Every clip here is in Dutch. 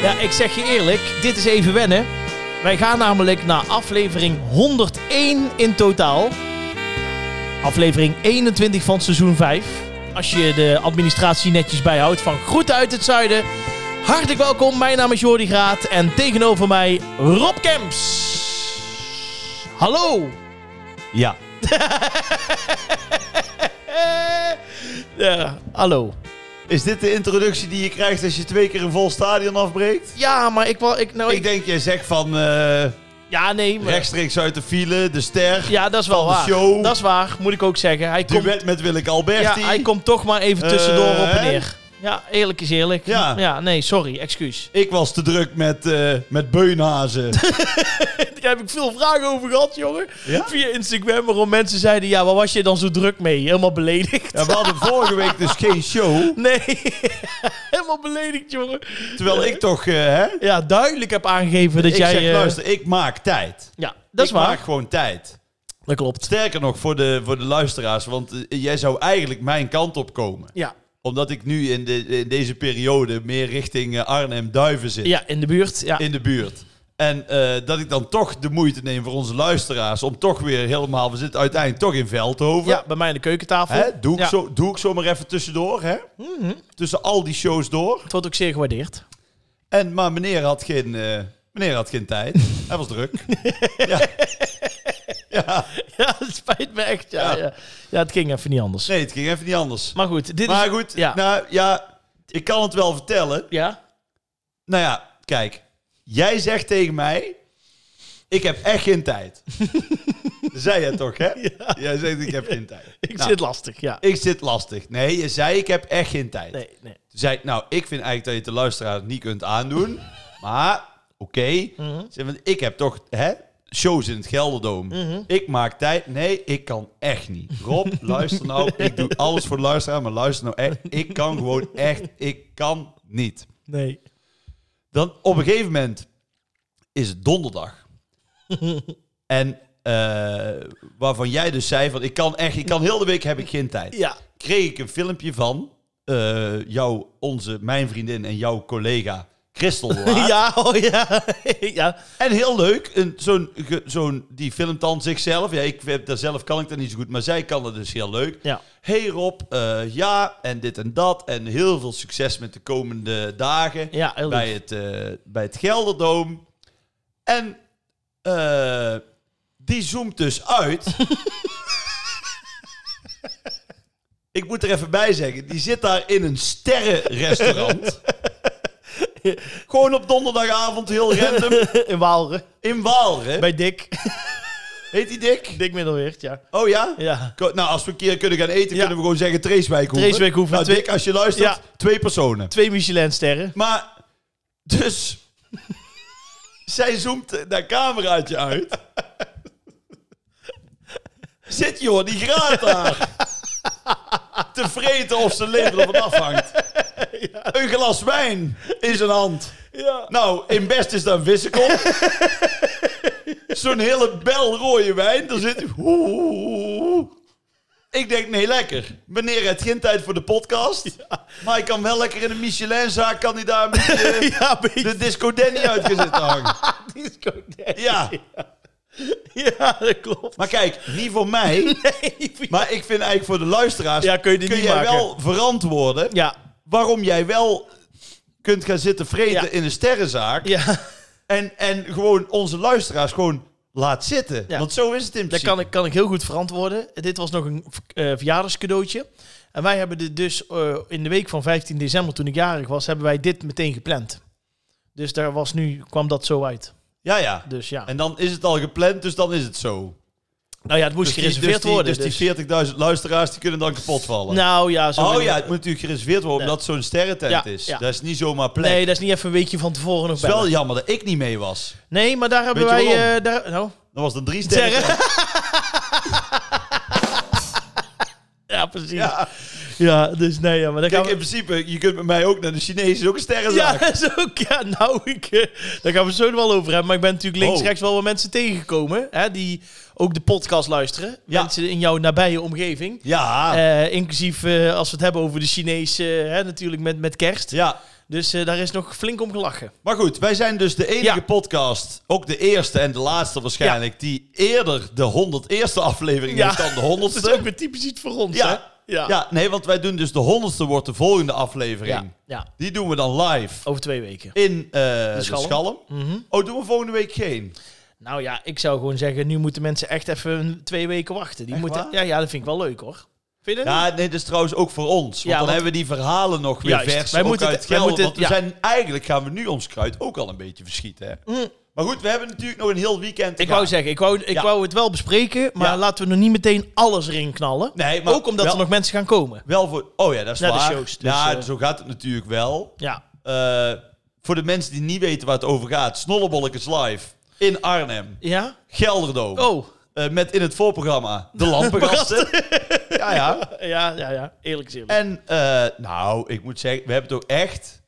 Ja, ik zeg je eerlijk, dit is even wennen. Wij gaan namelijk naar aflevering 101 in totaal. Aflevering 21 van seizoen 5. Als je de administratie netjes bijhoudt van Groeten uit het Zuiden. Hartelijk welkom, mijn naam is Jordi Graat en tegenover mij Rob Kemps. Hallo! Ja. Ja, hallo. Is dit de introductie die je krijgt als je twee keer een vol stadion afbreekt? Ja, maar ik wil... Ik, nou, Ik denk, jij zegt van eh, ja, nee. Maar, rechtstreeks uit de file, de ster, ja, dat is wel van de waar. show. Dat is waar, moet ik ook zeggen. Hij komt, duet met Willeke Alberti. Ja, hij komt toch maar even tussendoor Eh, op en hè? neer. Ja, eerlijk is eerlijk. Ja. nee, sorry, excuus. Ik was te druk met, eh, met Beunhazen. Daar heb ik veel vragen over gehad, jongen. Ja? Via Instagram, waarom mensen zeiden... Ja, waar was je dan zo druk mee? Helemaal beledigd. Ja, we hadden vorige week dus geen show. Nee, helemaal beledigd, jongen. Terwijl ik toch, eh, hè? Ja, duidelijk heb aangegeven dat ik jij... zeg, eh, luister, ik maak tijd. ja, dat is ik waar. maak gewoon tijd. Dat klopt. Sterker nog, voor de, voor de luisteraars, want eh, jij zou eigenlijk mijn kant op komen. Ja. Omdat ik nu in, de, in deze periode meer richting eh, Arnhem-Duiven zit. ja, in de buurt. Ja. in de buurt. En eh, dat ik dan toch de moeite neem voor onze luisteraars om toch weer helemaal... We zitten uiteindelijk toch in Veldhoven. ja, bij mij aan de keukentafel. Hè? Doe, ik Ja. Mhm. zo, doe ik zo maar even tussendoor, hè? Tussen al die shows door. Het wordt ook zeer gewaardeerd. En, maar meneer had geen, eh, meneer had geen tijd. Hij was druk. ja. Ja. Ja, het spijt me echt. Ja, Ja. ja. ja het ging even niet anders. Nee, het ging even niet anders. Maar goed, dit Maar is... goed, Ja. nou ja, ik kan het wel vertellen. Ja? Nou ja, kijk. Jij zegt tegen mij... Ik heb echt geen tijd. Zei jij toch, hè? Jij zegt, ik heb geen tijd. Ik Nou, zit lastig, ja. ik zit lastig. Nee, je zei, ik heb echt geen tijd. Nee, nee. Toen zei ik, nou, ik vind eigenlijk dat je het de luisteraar niet kunt aandoen. maar, oké. Ik zei, Want ik heb toch, hè, shows in het Gelderdoom. Ik maak tijd. Nee, ik kan echt niet. Rob, luister nou. Ik doe alles voor de luisteraar, maar luister nou echt. Ik kan gewoon echt, ik kan niet. Nee. Dan op een gegeven moment is het donderdag. en eh, waarvan jij dus zei van ik kan echt, ik kan heel de week heb ik geen tijd. Ja. Kreeg ik een filmpje van eh jou, onze, mijn vriendin en jouw collega Christel. de Laat. Ja, oh ja. ja. En heel leuk, een- zo'n, ge- zo'n, die filmt dan zichzelf. Ja, ik heb daar zelf kan ik dat niet zo goed, maar zij kan dat dus heel leuk. Ja. Hey Rob, eh, ja, en dit en dat. En heel veel succes met de komende dagen Ja, heel bij lief. het, eh, bij het Gelderdoom. En eh, die zoomt dus uit. Ik moet er even bij zeggen, die zit daar in een sterrenrestaurant. Gewoon op donderdagavond, heel random, In Waalre. in Waalre. Bij Dick. Heet die Dick? Dick Middelweert, ja. Oh ja? Ja. Ko- Nou, als we een keer kunnen gaan eten, Ja. kunnen we gewoon zeggen Treeswijkhoeven. Treeswijkhoeven. Nou, Twee- Dick, als je luistert, Ja. twee personen. Twee Michelinsterren. Maar, dus... zij zoomt dat cameraatje uit. Zit joh, die graat daar. Te vreten of zijn leven ervan afhangt. Een glas wijn in zijn hand. Ja. Nou, in best is dat een wissekom. Zo'n hele bel rode wijn. Er zit... Ik denk, nee, lekker. Meneer heeft geen tijd voor de podcast. Maar hij kan wel lekker in een Michelinzaak... kan hij daar een beetje Ja, bij de disco Danny uitgezet hangen. Disco Daddy. Ja, Ja, dat klopt. maar kijk, niet voor mij. Maar ik vind eigenlijk voor de luisteraars... Ja, kun je die niet jij maken. wel verantwoorden... Ja. waarom jij wel kunt gaan zitten vreten Ja. in een sterrenzaak... Ja. En, en gewoon onze luisteraars gewoon laat zitten. Ja. Want zo is het in Dat principe. kan ik, kan ik heel goed verantwoorden. Dit was nog een v- eh, verjaardagscadeautje. En wij hebben dit dus eh, in de week van 15 december, toen ik jarig was, hebben wij dit meteen gepland. Dus daar was nu, kwam dat zo uit. Ja, ja. Dus ja. En dan is het al gepland, dus dan is het zo. nou ja, het moest Dus die- gereserveerd dus die, worden. Dus dus- die 40.000 luisteraars die kunnen dan kapot vallen. nou ja, zo oh wil- ja, het moet natuurlijk gereserveerd worden Nee. omdat het zo'n sterrentent Ja, is. ja. Dat is niet zomaar plek. Nee, dat is niet even een weekje van tevoren nog het is wel bellen. jammer dat ik niet mee was. Nee, maar daar hebben Weet je wij... waarom? eh, daar, nou, Dan was er drie sterren. sterren. ja, precies. Ja. Ja, dus nee, ja, maar dan gaan kijk, in we... principe, je kunt met mij ook naar de Chinezen, is ook een Ja, sterrenzaak. dat is ook... Ja, nou, ik, eh, daar gaan we het zo nog wel over hebben. Maar ik ben natuurlijk links Oh. rechts wel wat mensen tegengekomen... Hè, die ook de podcast luisteren. Ja. Mensen in jouw nabije omgeving. Ja, ja. Eh, inclusief eh, als we het hebben over de Chinees... eh, hè, natuurlijk met, met kerst. Dus eh, daar is nog flink om gelachen. Maar goed, wij zijn dus de enige Ja. podcast, ook de eerste en de laatste waarschijnlijk, die eerder de 101ste aflevering Ja. heeft dan de Dat 100ste. is ook weer typisch iets voor ons, Ja. hè? Ja. Ja, nee, want wij doen dus de 100ste wordt de volgende aflevering. Ja. Ja. Die doen we dan live Over twee weken. in eh, de Schalm. Schalm. Mhm. Oh, doen we volgende week geen? Nou ja, ik zou gewoon zeggen, nu moeten mensen echt even twee weken wachten. Die Echt moeten, waar? ja, ja, dat vind ik wel leuk hoor. Vind je dat niet? Ja, nee, dat is trouwens ook voor ons. Want Ja, dan want- hebben we die verhalen nog weer Juist. vers Wij ook moeten uit het- wij Gelderland. moeten Want we het- zijn, eigenlijk gaan we nu ons kruid ook al een beetje verschieten. Hè? Mm. Maar goed, we hebben natuurlijk nog een heel weekend te Ik wou gaan. zeggen, ik wou, ik Ja. wou het wel bespreken, maar Ja. laten we nog niet meteen alles erin knallen. Nee, maar ook omdat wel, er nog mensen gaan komen. Wel voor... Oh ja, dat is Naar de waar. shows, dus, ja, eh. zo gaat het natuurlijk wel. Ja, Eh, voor de mensen die niet weten waar het over gaat. Snollebolletjes live in Arnhem. ja? Gelderdoom. Oh, Eh, met in het voorprogramma de lampengasten. ja, ja. ja, ja, ja. Eerlijk gezegd. En eh, nou, ik moet zeggen, we hebben toch echt,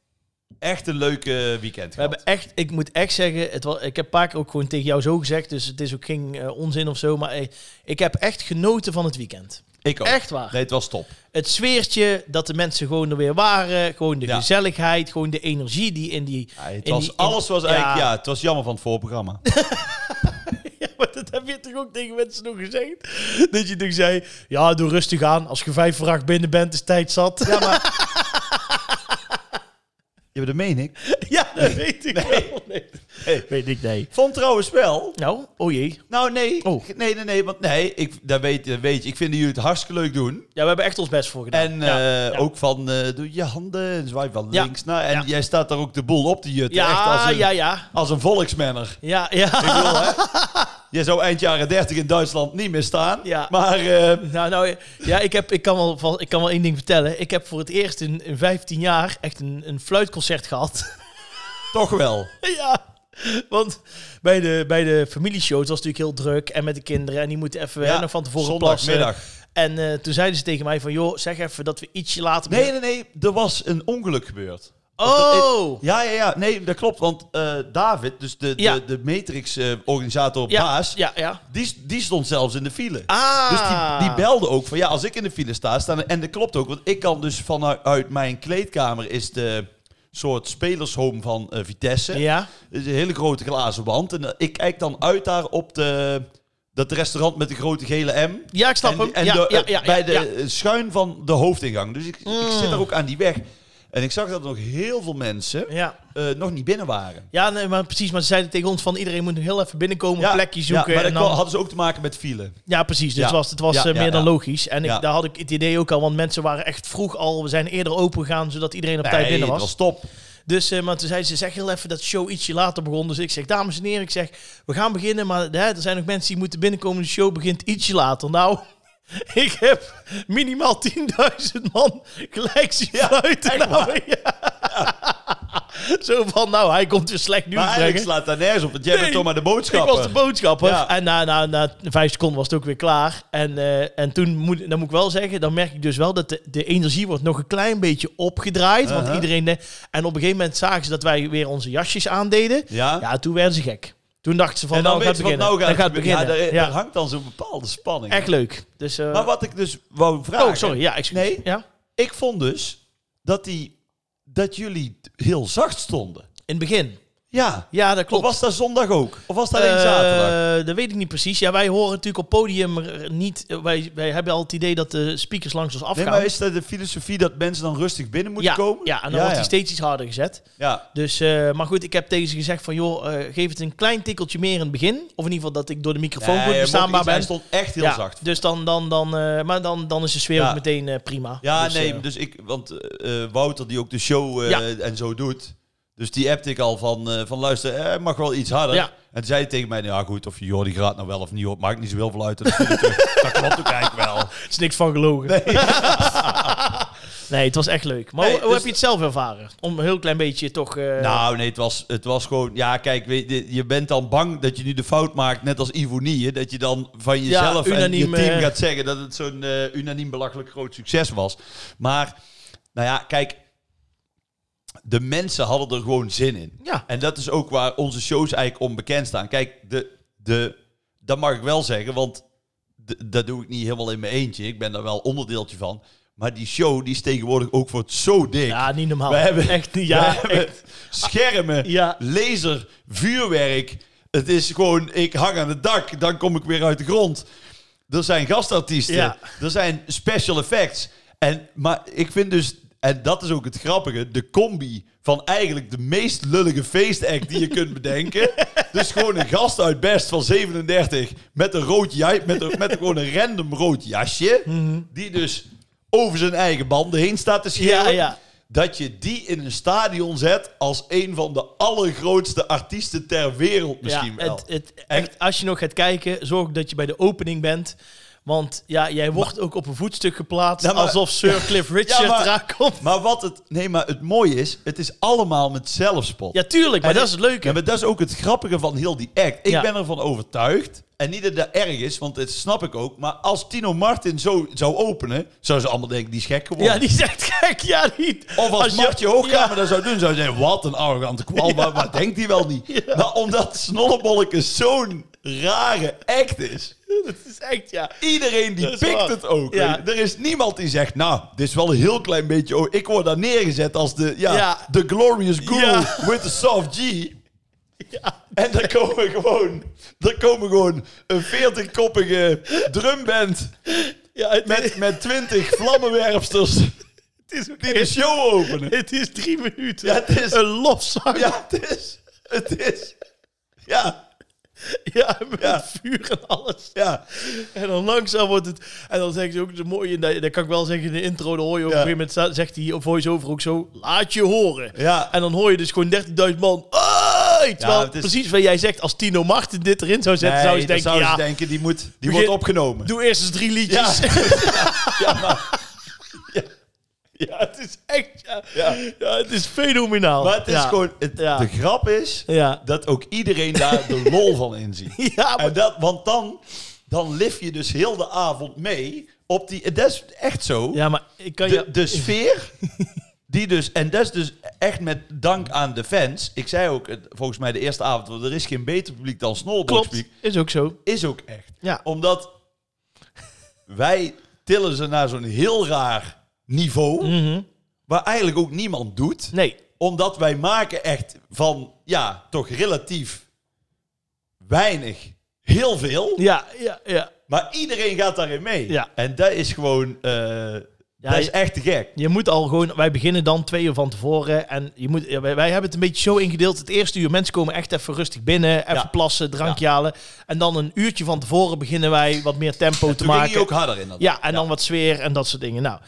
echt een leuke We weekend gehad. hebben echt, ik moet echt zeggen, het was, ik heb een paar keer ook gewoon tegen jou zo gezegd, dus het is ook geen eh, onzin of zo, maar eh, ik heb echt genoten van het weekend. Ik ook. Echt waar. Nee, het was top. Het sfeertje, dat de mensen gewoon er weer waren, gewoon de Ja. gezelligheid, gewoon de energie die in die... Ja, het in was, die- in- alles was ja. eigenlijk... Ja. het was jammer van het voorprogramma. Ja, maar dat heb je toch ook tegen mensen nog gezegd? Dat je toch zei, ja, doe rustig aan, als je vijf voor acht binnen bent, is tijd zat. ja, maar... Ja, maar dat meen ik. Ja, dat weet ik wel. Nee. Nee. Weet ik, nee. Vond trouwens wel... Nou, oh jee. Nou, nee. Oh. Nee, nee, nee. Want nee, ik, dat, weet, dat weet je. Ik vind dat jullie het hartstikke leuk doen. Ja, we hebben echt ons best voor gedaan. En ja. eh, ja. ook van... eh, doe je handen en zwaai van Ja. links naar... En Ja. jij staat daar ook de boel op te jutten. echt Ja, als een, ja, ja. als een volksmanner. Ja, ja. Ik bedoel, hè? Je zou eind jaren 30 in Duitsland niet meer staan. Ja. Maar eh, Nou, nou ja, ik, heb, ik, kan wel, van- ik kan wel één ding vertellen. Ik heb voor het eerst in, in 15 jaar echt een, een fluitconcert gehad. toch wel. ja, want bij de, bij de familieshow, het was natuurlijk heel druk en met de kinderen. En die moeten even hè, nog van tevoren plassen. Zondagmiddag. En eh, toen zeiden ze tegen mij van, joh, zeg even dat we ietsje later... Nee, nee, nee. Er was een ongeluk gebeurd. Oh! Ja, ja, ja. Nee, dat klopt. Want eh, David, dus de, Ja. de, de Matrix-organisator op Ja, baas, ja, ja. Die, die stond zelfs in de file. Ah! Dus die, die belde ook van ja, als ik in de file sta, staan, en dat klopt ook, want ik kan dus vanuit uit mijn kleedkamer is de soort spelershome van eh, Vitesse. Ja, Dus een hele grote glazen wand. En eh, ik kijk dan uit daar op de, dat restaurant met de grote gele M. ja ik snap en, hem. en ja, de- ja, ja, bij ja, de ja. eh, schuin van de hoofdingang. Dus ik, ik Mm. zit daar ook aan die weg. En ik zag dat nog heel veel mensen Ja. eh, nog niet binnen waren. Ja, nee, maar precies. Maar ze zeiden tegen ons van iedereen moet nog heel even binnenkomen, een plekje zoeken. Ja, maar en dat dan... kwam- hadden ze ook te maken met file. Ja, precies. Dus Ja. het was, het was Ja, eh, ja, meer dan ja. logisch. En ik, Ja. daar had ik het idee ook al, want mensen waren echt vroeg al. We zijn eerder open gegaan, zodat iedereen op tijd binnen was. dat was top. Dus, eh, maar toen zeiden ze, zeg heel even dat de show ietsje later begon. Dus ik zeg, dames en heren, ik zeg, we gaan beginnen. Maar hè, er zijn nog mensen die moeten binnenkomen. De show begint ietsje later. Nou, ik heb minimaal 10.000 man gelijk zien fluiten. Nou, ja. Zo van, nou, hij komt weer slecht nieuws Maar eigenlijk brengen. slaat daar nergens op, want jij Nee, bent toch maar de Ik boodschapper. was de boodschapper. Ja. En na, na, na vijf seconden was het ook weer klaar. En, eh, en toen moet, dan moet ik wel zeggen, dan merk ik dus wel dat de, de energie wordt nog een klein beetje opgedraaid. Uh-huh. Want iedereen. eh, en op een gegeven moment zagen ze dat wij weer onze jasjes aandeden. Ja? Ja, toen werden ze gek. Toen dachten ze van en dan nou, gaat weet je wat beginnen. nou gaat, Dan gaat het gebeuren. beginnen. Ja, daar, Ja, daar hangt dan zo'n bepaalde spanning. Echt leuk. Dus, eh, Maar wat ik dus wou vragen. oh, sorry. Ja, excuus. Nee. Ja? Ik vond dus dat, die, dat jullie heel zacht stonden. In het begin. Ja. Ja, dat Of klopt. was dat zondag ook? Of was dat alleen Eh, zaterdag? dat weet ik niet precies. Ja, wij horen natuurlijk op podium eh, niet. eh, Wij, wij hebben al het idee dat de speakers langs ons Nee, afgaan. maar is dat de filosofie dat mensen dan rustig binnen moeten ja, komen? Ja, en dan ja, wordt ja. hij steeds iets harder gezet. Ja. Dus, eh, maar goed, ik heb tegen ze gezegd van, joh, eh, geef het een klein tikkeltje meer in het begin. Of in ieder geval dat ik door de microfoon Nee, goed hij bestaanbaar mocht iets- ben. Hij stond echt heel ja, zacht. Dus dan, dan, dan, eh, maar dan, dan is de sfeer Ja. ook meteen eh, prima. Ja, Dus, nee, eh, dus ik, want eh, eh, Wouter die ook de show eh, Ja. en zo doet, dus die appte ik al van, eh, van luister, eh, mag wel iets harder. Ja. En toen zei hij tegen mij, nou ja goed, of je Jordi gaat nou wel of niet, hoor, maakt niet zoveel veel uit. Dat, vind ik toch- dat klopt ook eigenlijk wel. er is niks van gelogen. Nee, het was echt leuk. Maar Nee, hoe, hoe dus- heb je het zelf ervaren? Om een heel klein beetje toch... eh, Nou nee, het was, het was gewoon, ja kijk, weet je, je bent dan bang dat je nu de fout maakt, net als Ivonie, dat je dan van jezelf en je unaniem, team eh, gaat zeggen dat het zo'n eh, unaniem belachelijk groot succes was. Maar, nou ja, kijk, de mensen hadden er gewoon zin in. ja. En dat is ook waar onze shows eigenlijk onbekend staan. Kijk, de, de, dat mag ik wel zeggen, want d- dat doe ik niet helemaal in mijn eentje. Ik ben daar wel onderdeeltje van. Maar die show die is tegenwoordig ook voor het zo dik. Ja, niet normaal. We hebben- echt niet. We Ja, hebben echt. schermen, Ja. laser, vuurwerk. Het is gewoon, ik hang aan het dak, dan kom ik weer uit de grond. Er zijn gastartiesten, Ja. er zijn special effects. En, maar ik vind dus, en dat is ook het grappige, de combi van eigenlijk de meest lullige feestact die je kunt bedenken. Dus gewoon een gast uit Best van 37 met een rood jasje, met, een, met gewoon een random rood jasje. Mhm. Die dus over zijn eigen banden heen staat te schreeuwen Ja, ja. dat je die in een stadion zet als een van de allergrootste artiesten ter wereld misschien ja, wel. Het, het, echt, als je nog gaat kijken, zorg dat je bij de opening bent. Want ja, jij wordt ook op een voetstuk geplaatst. Ja, maar- alsof Sir Cliff Richard Ja, maar- eraan komt. maar wat het, nee, maar het mooie is, het is allemaal met zelfspot. Ja, tuurlijk. Maar En dat is het leuke. Ja, maar dat is ook het grappige van heel die act. Ik Ja. ben ervan overtuigd, en niet dat dat erg is, want dat snap ik ook, maar als Tino Martin zo zou openen, zouden ze allemaal denken, die is gek geworden. Ja, die is echt gek. Ja, niet. Of je- als, Martje Hoogkamer dat zou doen, zou je zeggen... Wat een arrogante kwal, maar wat denkt hij wel niet? Maar omdat Snollebolleke zo'n rare act is... Ja, dat is echt, ja. Iedereen die Dat is pikt waar. het ook. Ja. Weet je. Er is niemand die zegt, nou, dit is wel een heel klein beetje... Oh, ik word daar neergezet als de, ja, Ja. de glorious guru Ja. with the soft G. Ja. En daar komen gewoon, daar komen gewoon een 40-koppige drumband Ja, het, met, met 20 vlammenwerpsters het is, die de show openen. het is drie minuten. Ja, het is- Een lofzang. Ja, Ja, het is, het is, ja, met Ja. vuur en alles. ja. En dan langzaam wordt het... En dan zeggen ze ook de mooie... en Dat, dat kan ik wel zeggen in de intro. Dan hoor je ook Ja. op een gegeven moment... Zegt die voice-over ook zo... Laat je horen. Ja. En dan hoor je dus gewoon 30.000 man... "Ai!" Terwijl het is- precies wat jij zegt... Als Tino Martin dit erin zou zetten... zou je dan denken... zou ja, ze denken, die, moet, die Begin- wordt opgenomen. doe eerst eens drie liedjes. Ja. Ja, maar, Ja, het is echt. Ja, ja. Ja. het is fenomenaal. maar het is Ja. gewoon, het- Ja. de grap is Ja. dat ook iedereen daar de lol van inziet. Ja, maar- En dat, want dan, dan lif je dus heel de avond mee op die... Dat is echt zo. ja, maar ik kan de, je. de sfeer, die dus, en dat is dus echt met dank aan de fans. Ik zei ook, het- volgens mij de eerste avond, want er is geen beter publiek dan Snowboard Klopt. publiek. Is ook zo. Is ook echt. Ja. Omdat wij tillen ze naar zo'n heel raar niveau, Mhm. waar eigenlijk ook niemand doet. Nee. Omdat wij maken echt van, ja, toch relatief weinig, heel veel. Ja, ja, ja. Maar iedereen gaat daarin mee. Ja. En dat is gewoon, eh, dat je- is echt te gek. Je moet al gewoon. Wij beginnen dan twee uur van tevoren. En je moet, ja, wij, wij hebben het een beetje zo ingedeeld. Het eerste uur mensen komen echt even rustig binnen. Even Ja. plassen, drankje halen. En dan een uurtje van tevoren beginnen wij wat meer tempo te Toen ging maken. hij ook harder in dat. Ja, en dan wat sfeer en dat soort dingen. Nou,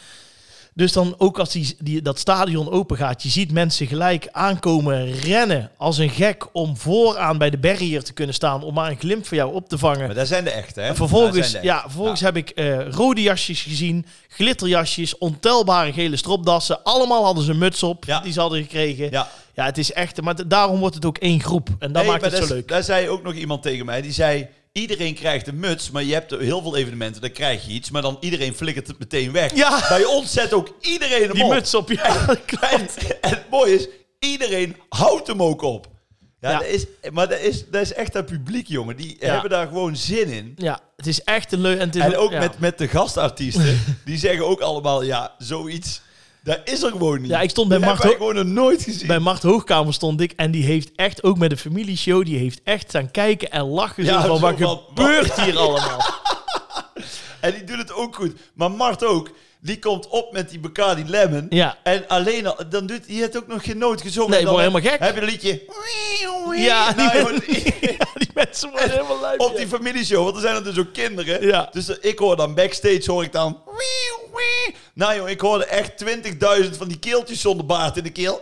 dus dan ook als die, die, dat stadion open gaat, je ziet mensen gelijk aankomen rennen als een gek om vooraan bij de barrier te kunnen staan om maar een glimp voor jou op te vangen. Maar daar zijn de echte, hè? En vervolgens, Daar zijn de echte. ja, vervolgens heb ik eh, rode jasjes gezien, glitterjasjes, ontelbare gele stropdassen. Allemaal hadden ze een muts op Ja. die ze hadden gekregen. Ja. Ja. het is echt, maar d- daarom wordt het ook één groep. En dat Hey, maakt maar het zo daar- leuk. Daar zei ook nog iemand tegen mij, die zei... Iedereen krijgt een muts, maar je hebt heel veel evenementen, dan krijg je iets, maar dan iedereen flikkert het meteen weg. Ja. Bij ons zet ook iedereen hem Die op. muts op, ja, En, klopt. en het mooie is, iedereen houdt hem ook op. Ja, Ja. Dat is, maar dat is, dat is echt dat publiek, jongen. Die Ja. hebben daar gewoon zin in. Ja, het is echt een leuk... En, het is En ook ja. met, met de gastartiesten, die zeggen ook allemaal, ja, zoiets, dat is er gewoon niet. Ja, ik stond bij Dat Mart hebben wij ook- gewoon nog nooit gezien. bij Mart Hoogkamer stond ik en die heeft echt ook met de familieshow, die heeft echt staan kijken en lachen. Ja, zo van, zo wat van, wat- gebeurt hier allemaal? En die doet het ook goed. Maar Mart ook, die komt op met die Bacardi Lemon. Ja. En alleen al, dan doet hij het ook nog geen noot gezongen. Nee, ik dan word helemaal gek. Heb je een liedje. Ja, die, Nou, men- gewoon- ja, die mensen worden helemaal lui. op die familieshow, want er zijn er dus ook kinderen. Ja. Dus ik hoor dan backstage, hoor ik dan... Nou joh, ik hoorde echt 20.000 van die keeltjes zonder baard in de keel.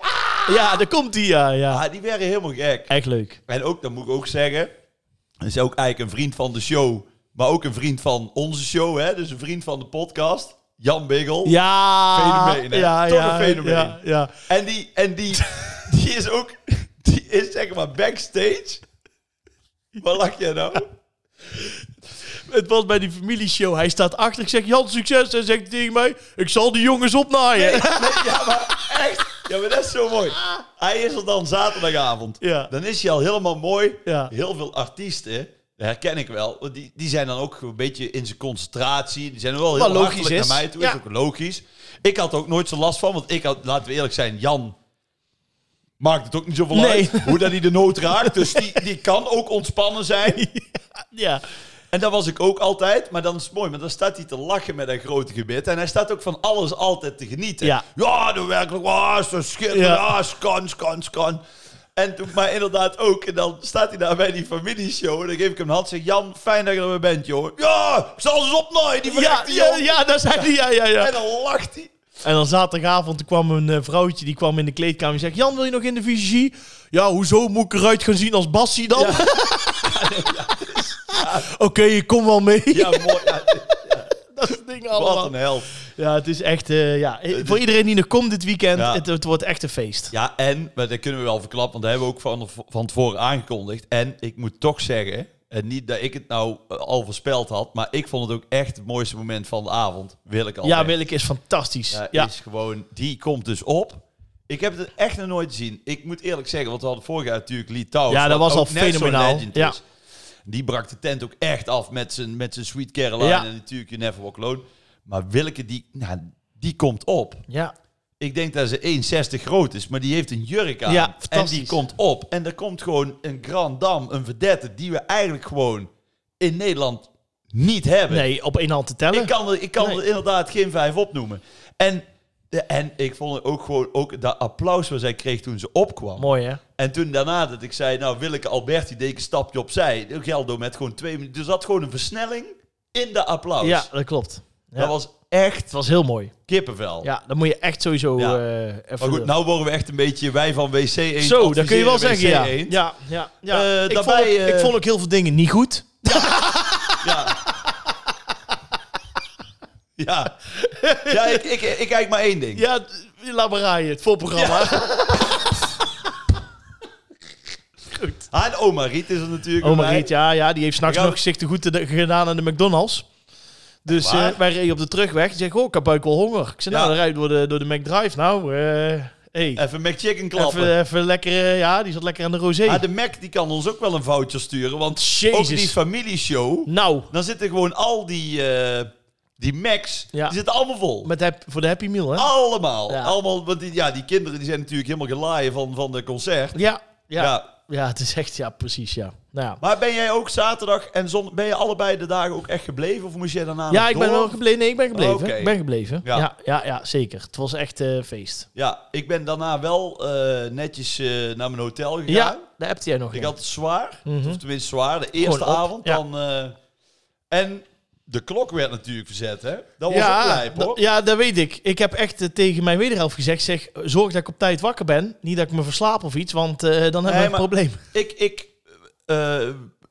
Ja, daar komt die, ja, ja. Ah, die werden helemaal gek. Echt leuk. En ook, dat moet ik ook zeggen, dat is ook eigenlijk een vriend van de show, maar ook een vriend van onze show, hè? dus een vriend van de podcast, Jan Biggel. Ja. Fenomeen, hè? ja, Toch ja, een fenomeen. Ja, ja. En die, en die, die is ook, die is zeg maar backstage. Waar lach jij nou? Het was bij die familieshow. Hij staat achter. Ik zeg, Jan, succes. Hij zegt tegen mij, ik zal die jongens opnaaien. Nee, ja, maar echt. Ja, maar dat is zo mooi. Hij is er dan zaterdagavond. Ja. Dan is hij al helemaal mooi. Ja. Heel veel artiesten. Dat herken ik wel. Want Die, die zijn dan ook een beetje in zijn concentratie. Die zijn wel Wat heel logisch logisch is. naar mij toe. Ja. Is ook logisch. Ik had er ook nooit zo last van. Want ik had, laten we eerlijk zijn, Jan maakt het ook niet zoveel Nee. uit. Hoe dat hij de nood raakt. Dus die, die kan ook ontspannen zijn. Ja. En dat was ik ook altijd. Maar dan is het mooi, want dan staat hij te lachen met een grote gebit. En hij staat ook van alles altijd te genieten. Ja. ja dan werkelijk. Ah, zo schitterend. Ja. Ah, scan, scan, scan. En toen, maar inderdaad ook. En dan staat hij daar bij die familieshow. En dan geef ik hem een hand. Zeg, Jan, fijn dat je er weer bent, joh. Ja, ik zal eens opnaaien, die Ja, verrekte ja, Jan. ja, daar zijn die. Ja, ja, ja. En dan lacht hij. En dan zaterdagavond toen kwam een eh, vrouwtje die kwam in de kleedkamer en zegt: Jan, wil je nog in de visie? Ja, hoezo moet ik eruit gaan zien als Bassie dan? Oké, ik kom wel mee. Ja, mooi. Ja, Dat soort dingen wat allemaal. een held. Ja, het is echt. eh, ja. Voor iedereen die nog komt dit weekend, Ja. het, het wordt echt een feest. Ja, en, maar dat kunnen we wel verklappen, want dat hebben we ook van, van tevoren aangekondigd. En ik moet toch zeggen, en niet dat ik het nou eh, al voorspeld had, maar ik vond het ook echt het mooiste moment van de avond. Wil ik al. Ja, echt. Willeke is fantastisch. Ja, Ja, Is gewoon, die komt dus op. Ik heb het echt nog nooit gezien. Ik moet eerlijk zeggen, want we hadden vorig jaar natuurlijk Lee Towers. Ja, dat wat was al ook net zo'n fenomenaal. legend Ja. is. Die brak de tent ook echt af met zijn, met zijn Sweet Caroline Ja. en natuurlijk You Never Walk Alone. Maar Willeke, die, nou, die komt op. ja. Ik denk dat ze 1,60 groot is, maar die heeft een jurk aan. Ja, en fantastisch. die komt op. En er komt gewoon een Grand Dame, een vedette, die we eigenlijk gewoon in Nederland niet hebben. Nee, op één hand te tellen. Ik kan er, ik kan Nee. er inderdaad geen vijf opnoemen. En, de- en ik vond het ook gewoon ook dat applaus wat zij kreeg toen ze opkwam. Mooi hè? En toen daarna dat ik zei, nou Willeke Alberti deed ik een stapje opzij. Geldo met gewoon twee minuten. Er zat gewoon een versnelling in de applaus. Ja, dat klopt. Ja. Dat was echt Het was heel mooi. kippenvel. Ja, dan moet je echt sowieso Ja. eh, even. Maar goed, nou worden we echt een beetje wij van WC 1. Zo, dat kun je wel zeggen, ja. Ja, ja, ja. Eh, ik, daarbij, vond, ook- ik eh, vond ook heel veel dingen niet goed. Ja. ja. Ja, ik, ik, ik kijk maar één ding. Ja, d- laat maar rijden, het voorprogramma. goed. Ah, en oma Riet is er natuurlijk Oma bij. Riet, Oh, ja, ja, die heeft s'nachts Ja. nog gezichten goed te- gedaan aan de McDonald's. Dus Echt waar? eh, wij reden op de terugweg. Ik zeg, oh, ik heb buik wel honger. Ik zei, Ja. nou, dan rijd ik door de, door de McDrive nou. eh hey, Even McChicken klappen. even, even lekker, eh, ja, die zat lekker aan de rosé. Ah, de Mac die kan ons ook wel een voucher sturen, want ook Jezus. die familieshow, Nou, dan zitten gewoon al die, eh, die Macs, Ja. die zitten allemaal vol. met hap- voor de Happy Meal, hè? Ah, Allemaal. Ja. Allemaal, want die, ja, die kinderen die zijn natuurlijk helemaal gelaaien van, van de concert. Ja, ja, ja. Ja. het is echt, ja, precies, ja. Nou, ja. Maar ben jij ook zaterdag en zondag, ben je allebei de dagen ook echt gebleven? Of moest jij daarna Ja, nog ik ben door? wel gebleven. Nee, ik ben gebleven. Oké. Ik ben gebleven. Ja. Ja. Ja, ja, zeker. Het was echt eh, feest. Ja, ik ben daarna wel eh, netjes eh, naar mijn hotel gegaan. Ja, daar hebt jij nog Ik in. had het zwaar, Mhm. of tenminste zwaar, de eerste Gewoon op, avond. ja. Dan, eh, en de klok werd natuurlijk verzet, hè? Dat was ook lijp, dat- hoor. ja, dat weet ik. Ik heb echt eh, tegen mijn wederhelft gezegd, zeg, zorg dat ik op tijd wakker ben. Niet dat ik me verslaap of iets, want eh, dan hebben we Nee, een maar- probleem. Ik, ik eh,